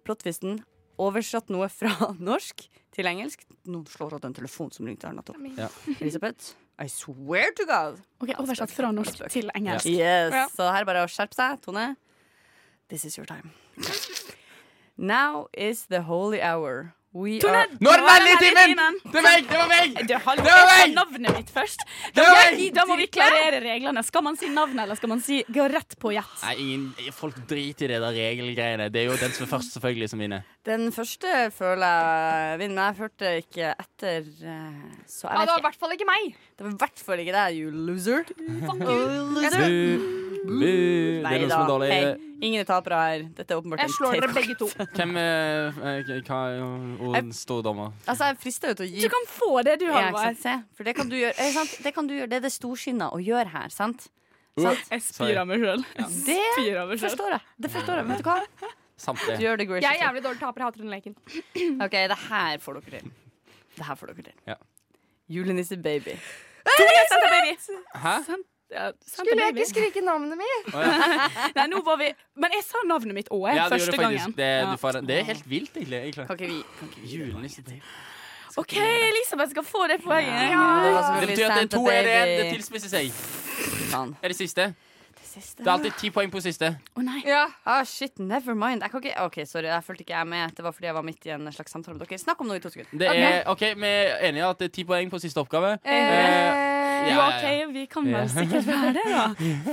plottvisten. Oversatt noe fra norsk til engelsk. Noen slår av den telefonen som ringte her nettopp.
Ja.
Elisabeth, I swear to God.
Ok, Oversatt fra norsk til engelsk.
Yes,
Ja.
Så her er bare å skjerpe seg. Tone, this is your time. Now is the holy hour. We
Tone,
are
nå er det veldig timen!
Det var meg! Det var meg!
Du, hallo,
Det var
jeg sa
meg!
navnet mitt først.
Det
Da,
var
jeg,
meg!
da må vi klarere reglene. Skal man si navnet, eller skal man si gå rett på gjett?
Nei, ingen, folk driter i det der regelgreiene. Det er jo den som er først, selvfølgelig, som vinner.
Den første føler jeg vinner. Jeg hørte ikke etter, eh, så
Ja, det var i
jeg vet ikke.
hvert fall ikke meg.
Det var i hvert fall ikke deg, you loser.
Fuck
you. loser.
Bu, det er noe som er dårlig.
Hei, ingen er tapere her. Dette er åpenbart
Jeg slår dere
tape.
begge to.
Hvem eh, eh, Hva er den store dommer?
Altså, jeg frister jo til å gi
Du kan få det, du,
Ja, ikke
Halvard.
sant, se. For det kan du gjøre. Eh, sant? Det, kan du gjøre. det er det storsinna å gjøre her, sant?
Uh,
sant?
Jeg spyr av meg sjøl.
Det forstår jeg. Det forstår jeg. Vet du hva?
Samtlige.
Du gjør det, Gracie.
Jeg er jævlig dårlig taper. Jeg hater den leken.
OK, det her får dere til. Det her får dere til.
Ja.
Julenisse baby.
Tore, jeg setter baby.
Hæ?
Skulle jeg ikke skrike navnet mitt?
Å, ja.
Nei, nå var vi Men jeg sa navnet mitt òg,
Ja, du gjorde
første
faktisk
gangen.
Det,
Ja.
du får, det er helt vilt, egentlig. egentlig.
Kan ikke vi- kan
Julenissen.
OK, Elisabeth skal få det poenget.
Det betyr at det er to er det, det tilspisser seg. Er det siste?
siste.
Det er alltid ti poeng på siste.
Å nei.
Ah, shit, never mind. Jeg kan ikke, ok, Sorry, jeg fulgte ikke jeg med. Det var fordi jeg var midt i en slags samtale med dere. Snakk om noe i to sekunder.
Det er, ok, Vi er enige at det er ti poeng på siste oppgave.
Eh,
ja,
jo,
ja,
OK,
ja.
vi kan vel sikkert være det, da.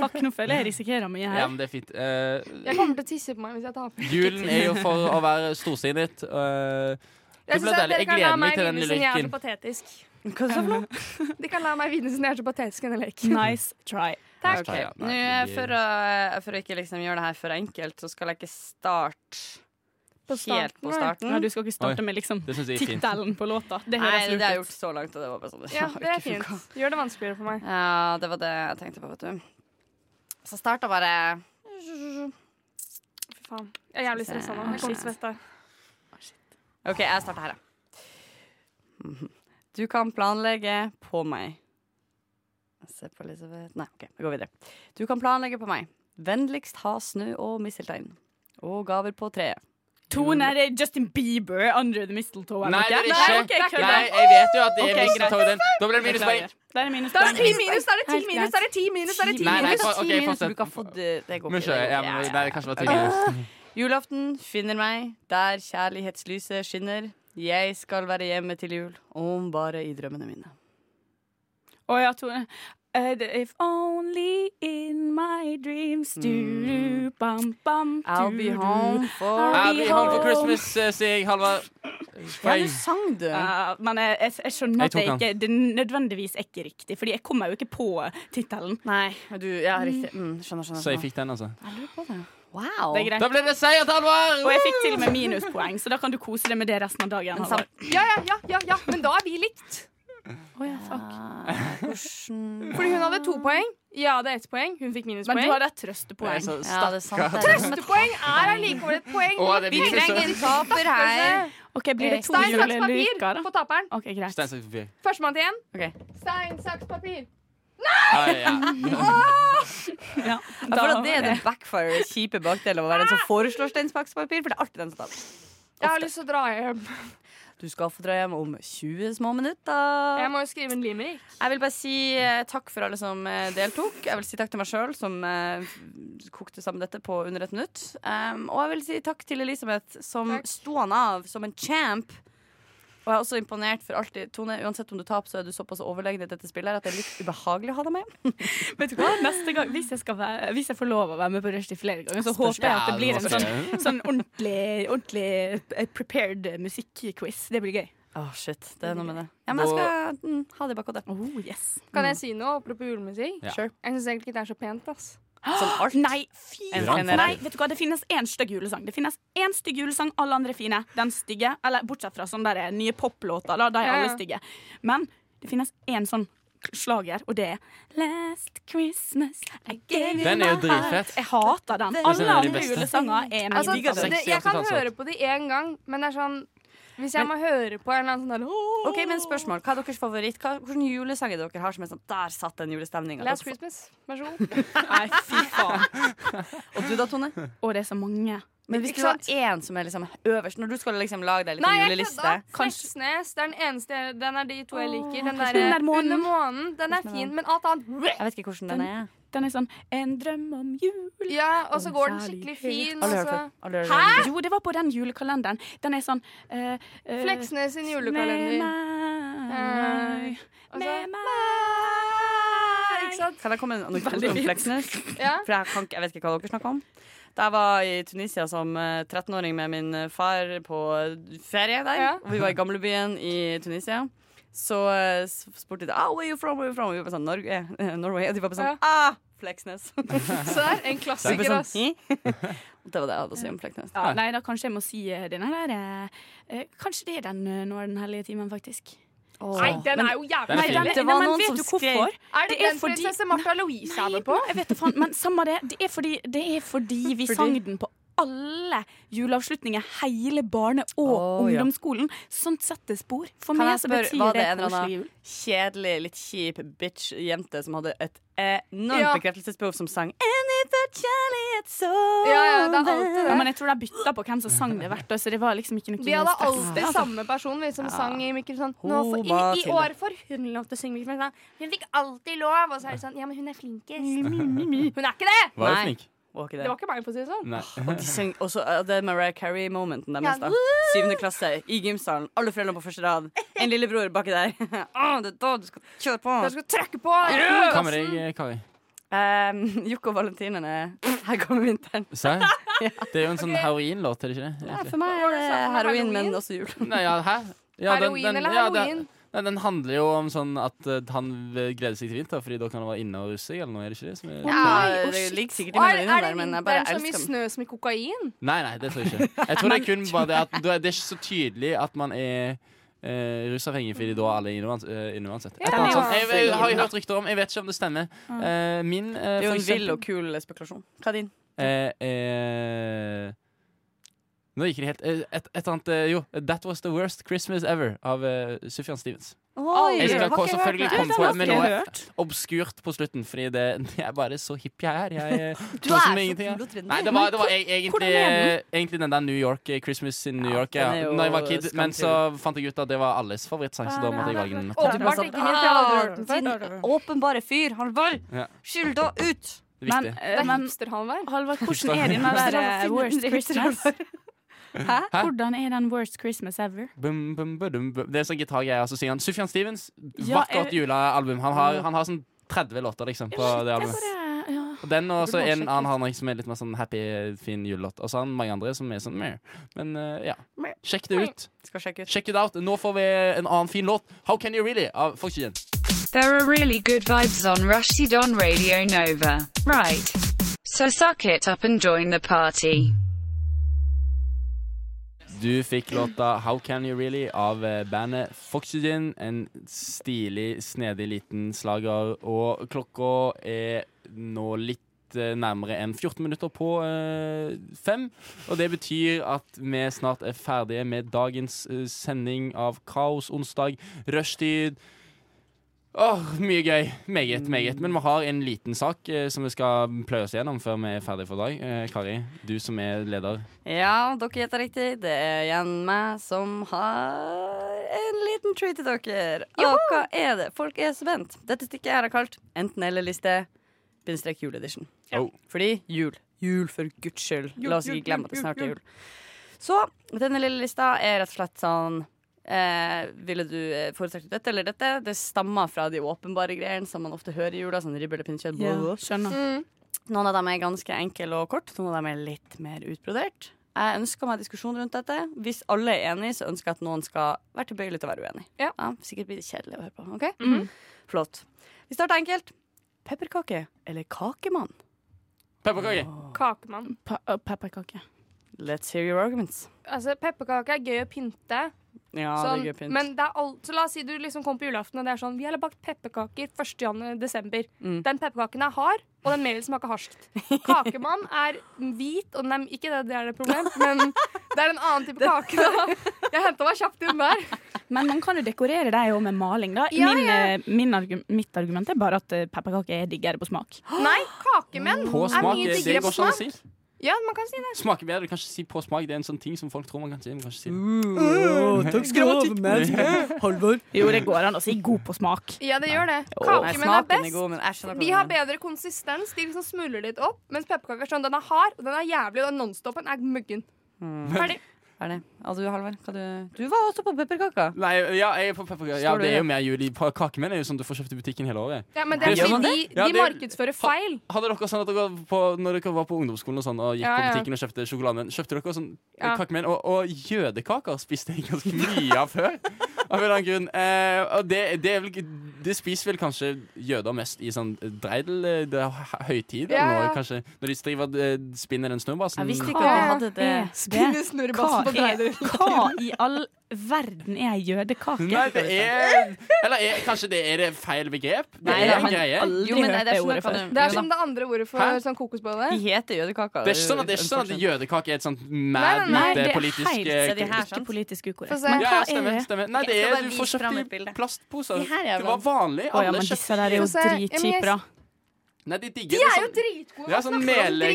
Fuck, nå føler jeg jeg risikerer mye
Ja,
her.
men det er fint. Eh,
Jeg kommer til å tisse på meg hvis jeg taper.
julen er jo for å være storsinnet. eh, det blir
Jeg synes at
deilig.
dere
Jeg
kan la
gleder meg
meg
til den
vinne
lille
siden jeg er så
leken.
patetisk.
Hva sa du for
noe? De kan la meg vinne siden jeg er så patetisk i denne leken.
Nice try.
Takk.
Ok, Nå, eh, for, å, for å ikke liksom gjøre det her for enkelt, så skal jeg ikke starte helt på
Mm.
starten.
Ja, du skal ikke starte
Oi,
med liksom
det synes jeg er fint.
tittelen på låta. Det
Nei,
høres
det har jeg
lurt
gjort så langt, og det var bare sånn.
Ja,
har
det er
ikke funket.
fint. Gjør det vanskeligere for meg.
Ja, det var det jeg tenkte på, vet du. Så starta bare
Fy faen. Jeg er jævlig stressa nå. Jeg kommer til å svette.
OK, jeg starter her, ja. Du kan planlegge på meg. Jeg ser på Elisabeth Nei, OK, vi går videre. Du kan planlegge på meg. Vennligst ha snø og misteltein. Og gaver på treet.
Tone, det er Justin Bieber, 'Under the Mistletoe'.
Nei, det er ikke.
Nei, ok, kødda.
Nei, jeg vet jo at det er
Ok,
misteltoe
greit.
i den. Da blir det minuspoeng.
Beklager. Da er det minus.
Da er det ti minus, da er det ti minus, da er det ti minus, da er det ti
Nei, nei,
minus.
fa- ok, fortsett.
Du kan få det, det går
Men
ikke, det
kjør,
går
ja,
ikke.
men, nei, det kanskje var ti
Ok.
minus.
Julaften finner meg der kjærlighetslyset skinner. Jeg skal være hjemme til jul, om bare i drømmene mine.
Å ja, Tone. Eh, det- If only in my dreams du, bam, bam, du,
I'll be
du.
home for-
I'll be home for Christmas, eh, sier jeg, Halvard.
Ja,
Poeng.
du sang du. Ja, men jeg, jeg, jeg skjønner
Jeg
at det,
tok
ikke, det nødvendigvis er ikke riktig, Fordi jeg kommer jo ikke på tittelen.
Nei, du, ja, Mm,
riktig.
skjønner, skjønner.
Så jeg fikk den, altså.
Wow.
Det er greit.
Da ble det seier til Halvard!
Og jeg fikk til og med minuspoeng, så da kan du kose deg med det resten av dagen.
Men
Halvard.
Ja, ja, ja, ja, ja, men da er vi likt.
Ah,
Fordi hun hadde to poeng. Jeg hadde ett poeng. Hun fikk minuspoeng.
Men du hadde et trøstepoeng.
Det er så Ja, det er sant, stakkar. det er det.
Trøstepoeng er allikevel et poeng.
Å, det er
Vi
minus,
trenger
ja.
en taper her.
Ok, blir det to
Stein, saks,
juleluker,
papir på taperen.
Ok, greit.
Stein, saks, papir.
Førstemann til én.
Okay.
Stein, saks, papir.
Ja, ja, ja.
Ja,
jeg føler at det er det backfire, kjipe bakdelen av å være den som foreslår steinspakkspapir, for det er alltid den som taper.
Jeg har lyst til å dra hjem.
Du skal få dra hjem om 20 små minutter.
Jeg må jo skrive en limerick.
Jeg vil bare si eh, takk for alle som eh, deltok. Jeg vil si takk til meg sjøl, som eh, kokte sammen dette på under et minutt. Um, og jeg vil si takk til Elisabeth, som sto han av som en champ. Og jeg er også imponert for alltid. Tone, uansett om du taper, så er du såpass overlegen i dette spillet her at det er litt ubehagelig å ha deg med.
Vet du hva? Neste gang, hvis jeg, skal være, hvis jeg får lov å være med på Rushdie flere ganger, så
Spørs-
håper jeg at det
Ja,
blir en
det må
sånn,
skje.
sånn ordentlig, ordentlig eh, prepared musikkquiz. Det blir gøy.
Åh, shit. Det er noe med det. Ja, men jeg skal mm, ha det i bakhodet.
Oh, yes.
Kan jeg si noe apropos julemusikk?
Ja. Sure.
Jeg syns egentlig ikke det er så pent. ass
Nei, fy
En generell.
Nei, vet du hva, det finnes én stygg julesang. Det finnes én stygg julesang, alle andre er fine. Den stygge, eller bortsett fra sånne der nye poplåter, da, de
Ja,
er
ja.
alle stygge. Men det finnes én sånn slager, og det er Last Christmas I gave you
Den er jo
my
dritfett.
heart. Jeg hater den.
Jeg synes den er
Alle
den
andre
beste.
julesanger er mye
Altså,
diggere.
det, jeg kan høre på det én gang, men det er sånn Hvis jeg må høre på en eller annen sånn der, «Åh!»
Ok, men spørsmål. Hva er deres favoritt? Hva, hvilken julesang er det dere har som er sånn Der satt den julestemninga.
Last Christmas. Vær så god.
Nei, fy faen.
Og du da, Tone?
Og det er så mange.
Men hvis
Ikke
du har én som er liksom øverst, når du skal liksom lage deg litt
Nei, jeg
juleliste
kødda. Sleksnes. Det er den eneste Den er de to jeg liker. Den
Åh,
der,
Under månen.
Under månen. Den er fin, men alt annet
Jeg vet ikke hvordan den er.
Den er sånn En drøm om jul.
Ja, og så går den skikkelig fin.
Altså-
altså. og
Alle hører
så-
på
Alle hører på den.
Hæ?! Jo, det var på den julekalenderen. Den er sånn eh, eh,
Fleksnes sin julekalender. Og
Med meg.
så-
Med
Ikke sant?
Kan jeg komme med en anekdote
Veldig
om
fint.
Fleksnes?
Ja.
For jeg, kan, ikke- jeg vet ikke hva dere snakker om. Da jeg var i Tunisia som eh, 13-åring med min eh, far på eh, ferie der,
Ja.
og vi var i gamlebyen i Tunisia, så eh, s- spurte de ah, where you from, where you from? Og vi var sånn Norge, eh, Norway. Og de var bare sånn ah, Fleksnes.
Så der, en
Så jeg
klassiker,
bare
ass.
sånn, «Hm?» Og Det var det jeg hadde å si om Fleksnes.
Ja, nei, da kanskje jeg må si eh, denne der eh, eh, Kanskje det er den eh, Nå er den hellige timen, faktisk.
Nei, den er jo jævlig
Nei, den,
kjedelig.
nei, men vet du hvorfor?
Er det, den prinsesse Martha Louise er med på?
Jeg vet da faen, men samme det. Det er fordi, det er fordi vi
Fordi-
sang den på alle juleavslutninger, hele barne- og
Å, ja.
ungdomsskolen. Sånt setter spor. For
Kan
meg
jeg
så
spørre,
betyr
var
det
det en eller
koselig
annen
jul.
kjedelig, litt kjip bitch-jente som hadde et enormt
Ja.
bekreftelsesbehov, som sang «Eh!»
Any but kjærlighet så
Ja, ja, det er alltid det.
Ja, men jeg tror de bytta på hvem som sang det hvert år, så det var liksom ikke noe
Vi hadde
stress.
alltid samme person vi som
Ja.
sang i mikrofonen. Nå,
Hun
for, i,
var
I
til
år får hun lov til å synge mikrofonen. Hun fikk alltid lov. Og så er det sånn Ja, men hun er flinkest. Hun er ikke det!
Var hun Nei. flink? Var ikke det.
Det var ikke meg, for å si det sånn.
Og de syng, også, eh, det er Mariah Carey-momenten
Ja.
deres. da. Syvende klasse, i gymsalen. Alle foreldrene på første rad. En lillebror baki der. Å, det er da du skal kjøre på.
Da skal du trykke på.
Hva med
sånn.
deg, Kari?
Eh, Jokke og valentinene. Her kommer vinteren.
Serr? Det er jo en sånn heroinlåt, er det ikke det?
Ja, for meg er det heroin, men også jul.
Nei, ja, hæ? Ja, den-
Heroin
den-
eller
ja, den-
heroin?
Nei, den handler jo om sånn at eh, han gleder seg til vinter, Fordi da kan han være inne og russe seg, eller noe, er det ikke det? Som er
Ja, det ligger sikkert i
Og er,
melodien
er det
der, men jeg bare
vinteren så mye
elsker den.
snø som i kokain?
Nei, nei, det tror jeg ikke. Jeg tror det er kun bare det at da er det er ikke så tydelig at man er eh, rusavhengig fordi da er alle inne uans- eh, inne uansett. Et
Ja.
eller annet sånt. Jeg, jeg, har jeg hørt rykter om. Jeg vet ikke om det stemmer.
Mm.
Eh, min eh,
Det er
for
jo en vill
eksempel-
og kul spekulasjon. Hva er din?
Eh, eh, nå gikk det helt eh, Et, et annet eh, Jo, 'That Was The Worst Christmas Ever' av eh, Sufjan Stevens.
Oi,
jeg skal
har ikke
selvfølgelig
hørt det.
komme
Den
på
har
med
ikke
noe
jeg
obskurt på slutten, fordi det, det er bare så hipp jeg er. Jeg, eh,
Du
koser
er
meg
så
ingenting, jeg.
kul og trendy.
Nei, det var, det var e-
Hvordan
egentlig,
er
egentlig den der New York eh, Christmas in New York. Ja,
den er jo
Når jeg var kid, men så
skamfull.
fant jeg ut at det var alles favorittsang, så da måtte jeg velge den.
Og du bare sånn, «Ah, din Åpenbare fyr, Halvor!
Ja.
Skyld da ut!
Det er viktig.
Eh,
Det er hipster-Halvard.
Halvard,
Hipster.
hvordan er din der
Hipster-Halvard,
eh, worst
Finn-
Christmas? Hæ?
Hæ?
Hvordan er den worst Christmas ever?
Bum, bum, badum, bum. Det er sånn gitargreier. Og så synger han Sufjan Stevens.
Ja,
Vakkert
jeg-
julealbum. Han har, han har sånn 30 låter liksom på det albumet. Og den og så en annen han har som er litt mer sånn happy, fin julelåt. Og så har han mange andre som er sånn meh. Men eh, ja. Sjekk det ut. Check it out. Nå får vi en annen fin låt. How Can You Really? av Foxygen.
There are really good vibes on Rushdie on Radio Nova. Right. So suck it up and join the party.
Du fikk låta How Can You Really av eh, bandet Foxygen. En stilig, snedig liten slager. Og klokka er nå litt eh, nærmere enn 14 minutter på eh, fem. Og det betyr at vi snart er ferdige med dagens eh, sending av Kaos onsdag. Rushtid. Åh, mye gøy. Meget, meget. Men vi har en liten sak eh, som vi skal pløye oss gjennom før vi er ferdige for i dag. Eh, Kari, du som er leder.
Ja, dere gjetter riktig. Det er igjen meg som har en liten treat til dere. Og hva er det? Folk er spent. Dette stikket her har kalt enten-eller-liste bindestrek juleedition. Fordi jul. Jul, for guds skyld.
Jul,
La oss
jul,
ikke glemme at det
jul,
snart
jul,
er jul. Så denne lille lista er rett og slett sånn eh, Ville du eh, foretrukket dette eller dette? Det stammer fra de åpenbare greiene som man ofte hører i jula. Sånn ribbe eller pinnekjøtt.
Ja,
blah, blah.
skjønner.
Mm. Noen av dem er ganske enkle og kort, noen av dem er litt mer utbrodert. Jeg ønsker meg diskusjon rundt dette. Hvis alle er enige, så ønsker jeg at noen skal være tilbøyelig til å være uenig. Ja. sikkert blir det kjedelig å høre på. ok?
Mhm.
Flott. Vi starter enkelt. Pepperkake eller kakemann?
Pepperkake.
Kakemann.
pepperkake.
Let's hear your arguments.
Altså, Pepperkake er gøy å pynte.
Ja,
sånn,
det er gøy pynt.
men det er alt, så la oss si du liksom kommer på julaften og det er sånn Vi har bakt pepperkaker 1. jan- desember.
Mm.
Den pepperkaken er hard, og den melen smaker harskt. Kakemann er hvit, og den er ikke det, det er det problem, men det er en annen type kake. Da. Jeg henta meg kjapt inn der.
Men man kan jo dekorere deg òg med maling, da.
Ja,
min,
ja.
eh, Min argu- mitt argument er bare at eh, pepperkake er diggere på smak.
Nei, kakemenn
På
Mm. er
smak.
mye
Det
diggere
går sånn.
på
ikke an å
smak.
si.
Ja, man kan si det.
Smaker bedre, du kan ikke si på smak. Det er en sånn ting som folk tror man kan si. Men man kan ikke si det.
takk skal du ha,
Grammatikk.
Jo, det går an å si god på smak.
Ja, det gjør det.
Åh.
Kakemenn
Nei,
er
smaken er
best.
god, men jeg skjønner hva
de
du
har bedre konsistens. De liksom smuler litt opp. Mens pepperkaker sånn, den er hard, og den er jævlig, og den nonstopen er muggen. Ferdig.
Ferdig. Og du, Altså, Halvard? hva Du, du var også på pepperkaka.
Nei, ja, jeg er på pepperkake. Ja,
Står du
det
i
er jo
det?
mer juli. Pa- Kakemenn er jo sånn du får kjøpt i butikken hele året.
Ja, men det er
Pluss-
fordi de,
Ja,
de
det er-
markedsfører feil.
Hadde dere sånn at dere på, når dere var på ungdomsskolen og sånn Og gikk
Ja,
på
ja.
butikken og kjøpte sjokolademenn, kjøpte dere sånn
Ja.
kakemenn? Og, og jødekaker spiste jeg ganske mye av før. Av en eller annen grunn. Eh, og det, det, er vel, ikke- det spiser vel kanskje jøder mest i sånn dreidel, eh, det er hø- høytid, eller
Ja,
noe,
ja.
kanskje. Når de driver og eh, spinner den snurrebassen.
Jeg visste ikke at jeg hadde det.
Spinne snurrebassen
Hva
på
er-
dreider.
Hva i all verden er ei jødekake?
Nei, det er Eller er, kanskje det er det feil begrep? Det
Nei,
er
da,
en
men
greie.
aldri Jo, men nei, det er hørt det sånn ordet at man- før.
Det er som det andre ordet for
Hæ?
sånn kokosbolle.
De heter jødekaker.
Det er ikke sånn at, det er ikke sånn at jødekake er et sånt
Nei,
mad
nei, nei,
eh,
det er
politisk
helt-
eh,
så de her,
ikke-
sant? politisk ukorrekt.
Få se.
Men
ja,
hva
ja, stemmer,
er det?
stemmer. Nei,
Jeg
det
skal
er
bare
Du får
vise fram et
kjøpt i plastposer.
De her er
Det
vel-
var vanlig.
Å ja,
Alle
men
kjøpte
disse der er jo
Få se. Ja, men jeg-
dritkjipe, da.
Nei, de digger
De
det
er jo
sånn-
dritgode!
Det er sånn mele...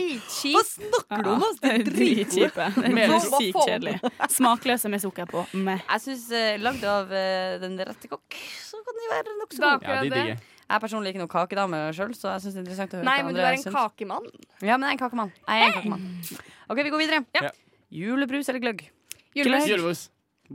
Hva snakker
Ja, det er Dritkjipe. Det
Mer-
er Sykt kjedelig. Smakløse med sukker på. Meh.
Jeg syns eh, lagd av eh, den rette kokk, så kan de være
Det
nokså
er
gode.
akkurat Ja, de det. digger.
Jeg er personlig ikke noen kakedame sjøl, så jeg syns det er interessant å høre
Nei,
hva
men du
andre
er en
syns.
kakemann.
Ja, men jeg er en kakemann. Jeg er en kakemann. OK, vi går videre. Julebrus eller gløgg? Oh.
Julebrus.
Gløgg.
Julebrus.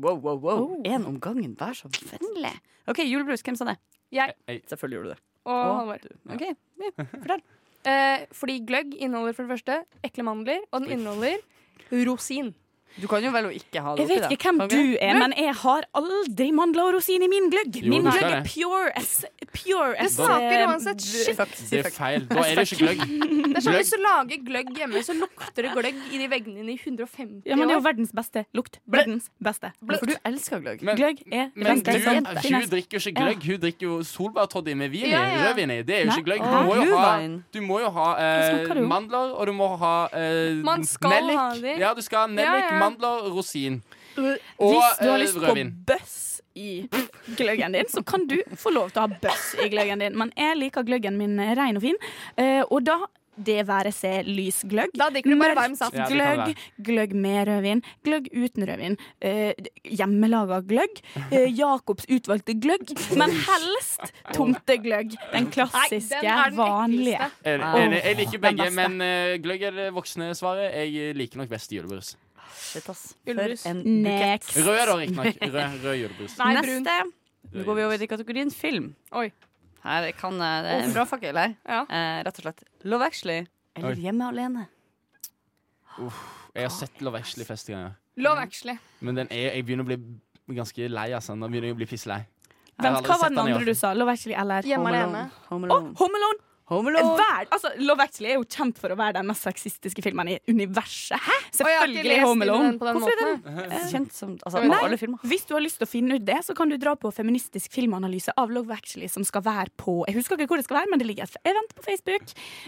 Wow, wow, wow. En om gangen, vær så vennlig. OK, julebrus. Hvem sa det?
Jeg.
Selvfølgelig gjorde du det.
Og
Å,
Halvor.
du. OK, ja, fortell.
Eh, fordi gløgg inneholder for det første ekle mandler, og den inneholder rosin.
Du kan jo vel å ikke ha
Jeg vet ikke hvem du er, men jeg har aldri mandler og rosin i min gløgg.
Jo,
Min
du
gløgg
skal
er
det.
pure as pure
Det
as eh,
smaker uansett shit.
Det er feil. Da er det ikke gløgg.
Det er sånn
Gløgg.
Hvis du lager gløgg hjemme, så lukter det gløgg i de veggene dine i 150
Ja, men det er jo
år.
verdens beste lukt. Verdens beste.
For du elsker gløgg.
Men-
gløgg
Men
er det beste.
hun, hun drikker jo ikke gløgg, hun drikker jo solbærtoddy med vin i.
Ja, ja.
Rødvin i. Det er jo
Nei.
ikke gløgg. Du
Åh,
må jo ha,
rødvin.
du må jo ha
Hva
eh,
smaker det?
mandler, og du må ha eh,
Man skal
nellik.
ha de.
Ja, du skal ha nellik,
Ja, ja.
mandler, rosin. Og
Hvis du har
eh,
lyst på
rødvin.
bøss i gløggen din, så kan du få lov til å ha bøss i gløggen din. Men jeg liker gløggen min eh, ren og fin, eh, og da det være seg lysgløgg,
bare
mørk
varm saft.
Ja, det kan
gløgg, gløgg med rødvin, gløgg uten rødvin, eh, hjemmelaga gløgg, eh, Jacobs utvalgte gløgg, men helst tomtegløgg. Den klassiske, vanlige.
Jeg,
Åh,
jeg, jeg liker
den
begge,
beste.
men eh, gløgg er det voksne svaret. Jeg liker nok best julebrus.
Shit, ass.
Julebrus.
For en
Next.
bukett.
Rød, da, riktignok. Rød, rød julebrus.
Nei, Neste. Nå går vi over til kategorien film.
Oi.
Her kan, eh, det er en
Uff.
bra fakkel her.
Ja.
Eh, rett og slett. Love Actually eller
Oi.
Hjemme alene.
Uff, jeg har sett Love Actually flest ganger.
Love actually.
Men den er, jeg begynner å bli ganske lei. Altså. Nå begynner jeg å bli pisslei. Jeg har
Vent,
aldri
hva
sett
var den
i år.
andre du sa? Love Actually eller
Hjemme
Home
alene.
Alone? Å, Home Alone! Vær, altså, Love Actually er jo kjent for å være den mest sexistiske filmen i universet.
Og jeg har ikke
Selvfølgelig
lest
Home
inn i
Alone.
den på den
Hvorfor er
måten,
den,
jeg.
eh,
Kjent som- altså,
Nei,
av alle filmer.
Hvis du har lyst til å finne ut det, så kan du dra på Feministisk filmanalyse av Love Actually, som skal være på Jeg husker ikke hvor det skal være, men det ligger et event på Facebook,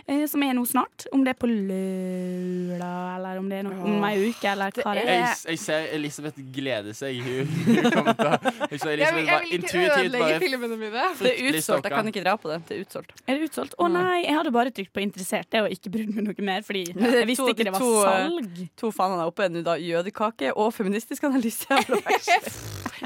eh, som er nå snart. Om det er på lørdag, eller om det er noe, om ei uke, eller hva det
Jeg,
er.
jeg ser Elisabeth glede seg. Hun hun kommer til å Jeg ser
Jeg vil,
Elisabeth
jeg
bare
vil ikke
intuitivt
ødelegge
bare
filmene mine.
Det er Fryktelig utsolgt, jeg stokka. kan
ikke dra på det. Det er utsolgt.
Er det utsolgt? Å nei, jeg hadde bare trykt på interesserte og ikke brydd meg noe mer, fordi
Det er
jeg visste
to-
ikke det var
to, eh,
salg.
To fanene er oppe nå, da. Jødekake og feministisk analyse. av Love Actually.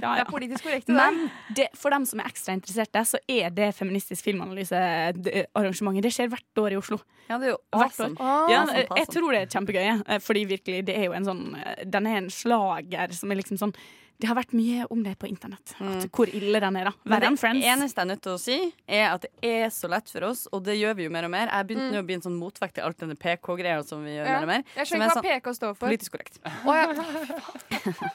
Ja, ja.
Det er politisk korrekt. det der.
Men det, for dem som er ekstra interesserte, så er det Feministisk filmanalysearrangementet. Det skjer hvert år i Oslo.
Ja, det er jo
Hvert år.
awesome. Ah,
Ja,
awesome, awesome.
jeg tror det er kjempegøy, ja. Eh, fordi virkelig, det er jo en sånn eh, Den er en slager som er liksom sånn Det har vært mye om det på internett. At, hvor ille den er, da.
Mm. Men
Verre enn
Det
Friends.
eneste jeg er nødt til å si, er at det er så lett for oss, og det gjør vi jo mer og mer. Jeg begynte
Mm.
nå å bli en sånn motvekt til alt denne PK-greia som vi gjør
Ja.
mer og mer.
Jeg
som
skjønner
er sånn
ikke hva PK står for.
Politisk korrekt.
Å, ja.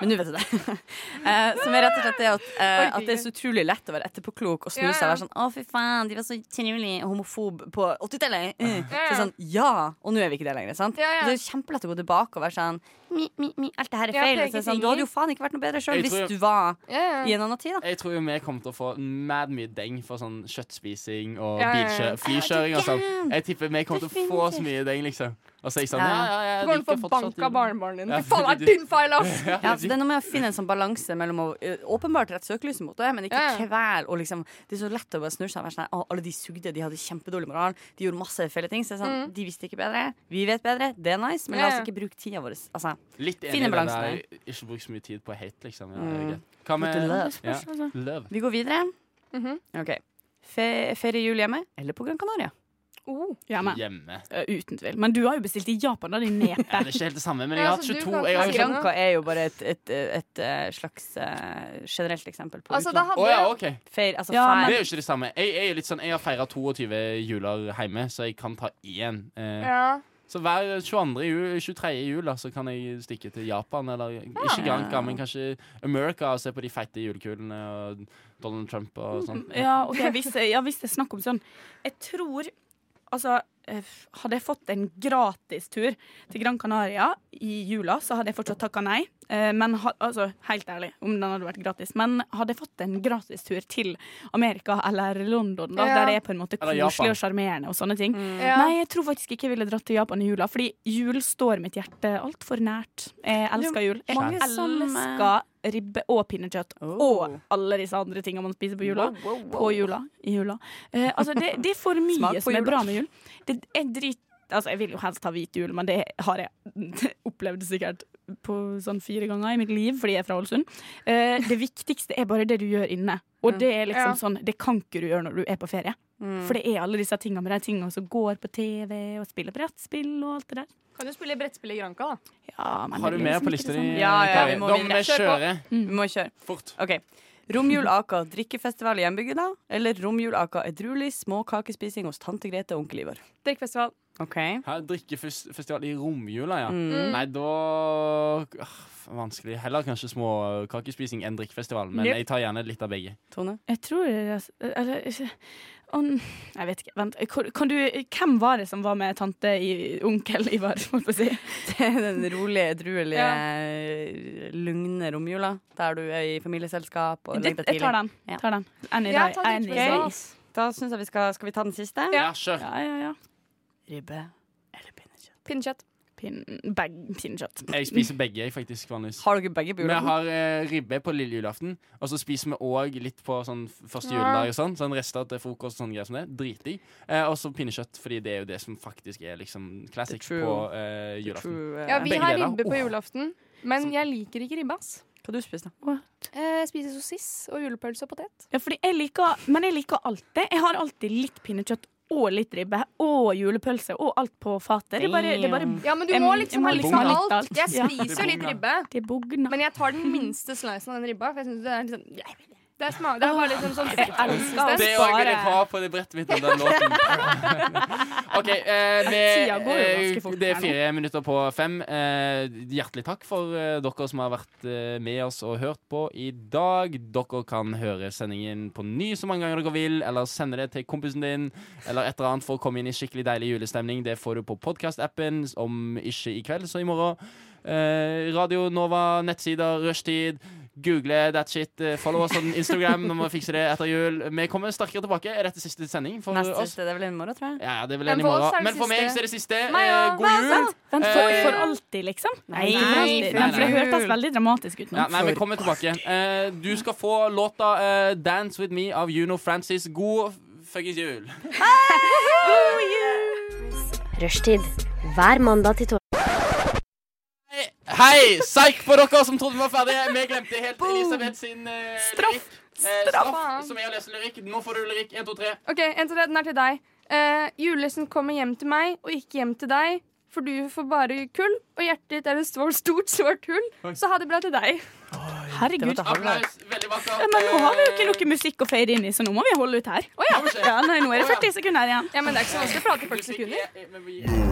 Men nå vet jeg det. Eh, som er rett og slett det at, eh, at det er så utrolig lett å være etterpåklok og snu
Ja,
seg og
ja.
være sånn Å, fy faen, de var så utrolig homofob på 80-tallet. Mm. Så sånn, ja, og nå er vi ikke det lenger. sant?
ja.
Det er kjempelett å gå tilbake og være sånn mi, mi, mi, Alt det her er
Ja,
feil.
peker
Og så er det sånn,
finger.
du hadde jo faen ikke vært noe bedre sjøl
Jeg
hvis
tror-
du var
Ja, ja.
i en annen tid, da.
Jeg tror jo vi kommer til å få mad mye deng for sånn kjøttspising og
Ja, ja, ja.
bilkjø- flykjøring og sånn. Jeg tipper vi kommer til å få så mye deng, liksom. Og så er jeg sånn ja, ja, ja,
Du kommer til å
liker
få
fortsatt
bank av barnebarnet ditt.
Ja,
Fy faen,
fordi
det
du-
er din feil, ass!
Ja.
Ja, så det er noe med å finne en sånn balanse mellom å ø, åpenbart rette søkelyset mot det, men ikke
Ja, ja.
kvel. Og liksom, det er så lett å bare snu seg og være sånn «Å, Alle de sugde, de hadde kjempedårlig moral, de gjorde masse feil ting. Så det er sånn, De visste ikke bedre. Vi vet bedre. Det er nice, men
Mm.
la
Ja,
oss
ja.
ikke bruke tida vår. Altså,
Litt enig i
finne
det der.
balansen
Ikke bruk så mye tid på hate, liksom. Ja, det er
Mm.
greit. Hva med
Litt løv.
ja, løv.
Vi går videre.
Mhm.
OK. Fe Feriejul hjemme eller på Gran Canaria?
Oh,
Hjemme.
Hjemme.
Eh, Uten tvil. Men du har jo bestilt i Japan, da, din nepe.
Ja, det er ikke helt det samme, men jeg har
altså,
22 jeg har
Granca Altså, er jo bare et, et, et, eh, slags eh, generelt eksempel på
Altså, da
utland.
hadde
Å ja,
jeg-
OK.
Feir, altså
Ja,
feir.
Det er jo ikke det samme. Jeg, jeg, er litt sånn, jeg har feira 22 juler hjemme, så jeg kan ta én. Eh,
Ja.
Så hver 22. Jul, 23. jul da, så kan jeg stikke til Japan, eller ikke Granca, men kanskje America og se på de feite julekulene og
Mm,
Donald Trump og sånn.
Ja, ok, hvis, ja, hvis det er snakk om sånn Jeg tror Altså, eh, eh, Hadde jeg fått en gratistur til Gran Canaria i jula, så hadde jeg fortsatt takka nei. Eh, Men ha- altså, helt ærlig, om den hadde vært gratis. Men hadde jeg fått en gratistur til Amerika eller London, da,
Ja. Mm.
der det er på en måte
Eller
koselig
Japan.
og sjarmerende og sånne ting
Ja.
Nei, jeg tror faktisk ikke jeg ville dratt til Japan i jula, fordi jul står mitt hjerte altfor nært. Jeg elsker
Jo,
jul. Jeg
mange som, Oh.
elsker ribbe og pinnekjøtt. Og alle disse andre tingene man spiser på jula.
Wow, wow, wow.
På jula. I jula. Eh, altså, det, det er for
Smak
mye
på
som er
jula.
bra med jul. Det er drit... Altså, jeg vil jo helst ha hvit jul, men det har jeg opplevd sikkert på sånn fire ganger i mitt liv, fordi jeg er fra Ålesund. Eh, det viktigste er bare det du gjør inne. Og
Ja.
det er liksom
Ja.
sånn, det kan ikke du gjøre når du er på ferie.
Mm.
For det er alle disse tingene med de tingene som går på TV, og spiller brettspill og alt det der.
Kan jo spille brettspill i Granca, da.
Ja, men
Har
det
du
er
mer
liksom
på
ikke
lista
det
di?
samme.
Ja, ja,
Kari?
vi må
da må
videre.
vi kjøre.
Vi må kjøre. Fort. OK. Romjul Aka drikkefestival i hjembygda eller romjul Aka edruelig småkakespising hos tante Grete og onkel Ivar?
Drikkefestival.
OK.
Her Drikkefestival i romjula, ja.
Mm.
Nei, da ah, Vanskelig. Heller kanskje småkakespising enn drikkefestival, men
Yep.
jeg tar gjerne litt av begge.
Tone?
Jeg tror det er- Eller ikke- Å, n- Jeg vet ikke. Vent. Hvor- Kan du, hvem var det som var med tante i Onkel Ivar, holdt på å si?
Den rolige, edruelige, eh, lugne romjula der du er i familieselskap
Det-
og legger deg
jeg
tidlig.
tar den. Tar den. Enig i
Ja,
deg.
ta den
Enig i
til
deg.
oss. Da syns jeg vi skal Skal vi ta den siste?
Ja, kjør.
Ja, ja, ja.
Ribbe.
Pinnekjøtt.
Pin, bag, pinnekjøtt.
Jeg spiser begge, jeg, faktisk, vanligvis.
Har dere begge på julaften?
Vi har eh, ribbe på lille julaften, og så spiser vi òg litt på sånn f- første
Ja.
juledag og sånn. Sånn rester til frokost og sånne greier som det. Dritdigg. Eh, og så pinnekjøtt, fordi det er jo det som faktisk er liksom classic
true-
på eh, julaften.
Ja, vi har
deler.
ribbe på
Åh.
julaften, men jeg liker ikke ribbe, ass.
Hva du spiser
da?
Eh, spiser sossis og julepølse og potet.
Ja, fordi jeg liker, men jeg liker alt det. Jeg har alltid litt pinnekjøtt og litt ribbe og julepølse og alt på fatet. Det er bare, det er bare
ja, men du
jeg-
må liksom ha
jeg må
litt
liksom
av
ha
alt. Jeg
Ja.
spiser jo litt ribbe, men jeg tar den minste slicen av den ribba. For jeg synes det er liksom Det er, smak, det er bare liksom sånn
Jeg elsker
Det òg vil jeg ha på det brettet mitt, den låten. OK, eh, vi,
Tida går jo
eh,
ganske fort
det er
her nå.
fire minutter på fem. Eh, hjertelig takk for eh, dere som har vært eh, med oss og hørt på i dag. Dere kan høre sendingen på ny så mange ganger dere vil, eller sende det til kompisen din, eller et eller annet for å komme inn i skikkelig deilig julestemning. Det får du på podkast-appen, om ikke i kveld, så i morgen. Eh, Radio Nova, nettsider, rushtid. Google that shit. eh, Follow oss on Instagram når vi fikser det etter jul. Vi kommer sterkere tilbake. Er dette siste sending for
Neste
oss?
siste, det er vel i morgen, tror jeg.
Ja, ja, det er vel
Men
en i
for oss
morgen.
er det
Men for
siste.
meg så er det siste.
Meg
Eh,
òg.
god jul!
Vent, for,
Eh,
for alltid, liksom? Nei,
nei,
for, alltid.
for
Nei, for det
jul.
hørtes veldig dramatisk ut nå.
ja, nei, vi kommer tilbake. Eh, du skal få låta eh, 'Dance With Me' av Juno Francis. God fuckings jul.
Oh,
God Rushtid hver mandag til torsdag.
Hei! Psyk på dere som trodde vi var ferdige. Vi glemte helt Elisabeth sin eh, lyrikk. Eh, straff.
Faen.
Som jeg har lest lyrikk. Nå får du lyrikk. 1, 2, 3.
OK, en til deg, den er til deg. Eh, julenissen kommer hjem til meg, og ikke hjem til deg. For du får bare kull, og hjertet ditt er et stort, stort svart hull. Så ha det bra til deg.
Herregud.
Det var til halvveis.
Ja, Men nå har vi
Eh,
jo ikke noe musikk å fade inn i, så nå må vi holde ut her. ja. nei, nå er det 40 sekunder igjen.
Ja, men det er ikke så vanskelig å prate i 40 sekunder.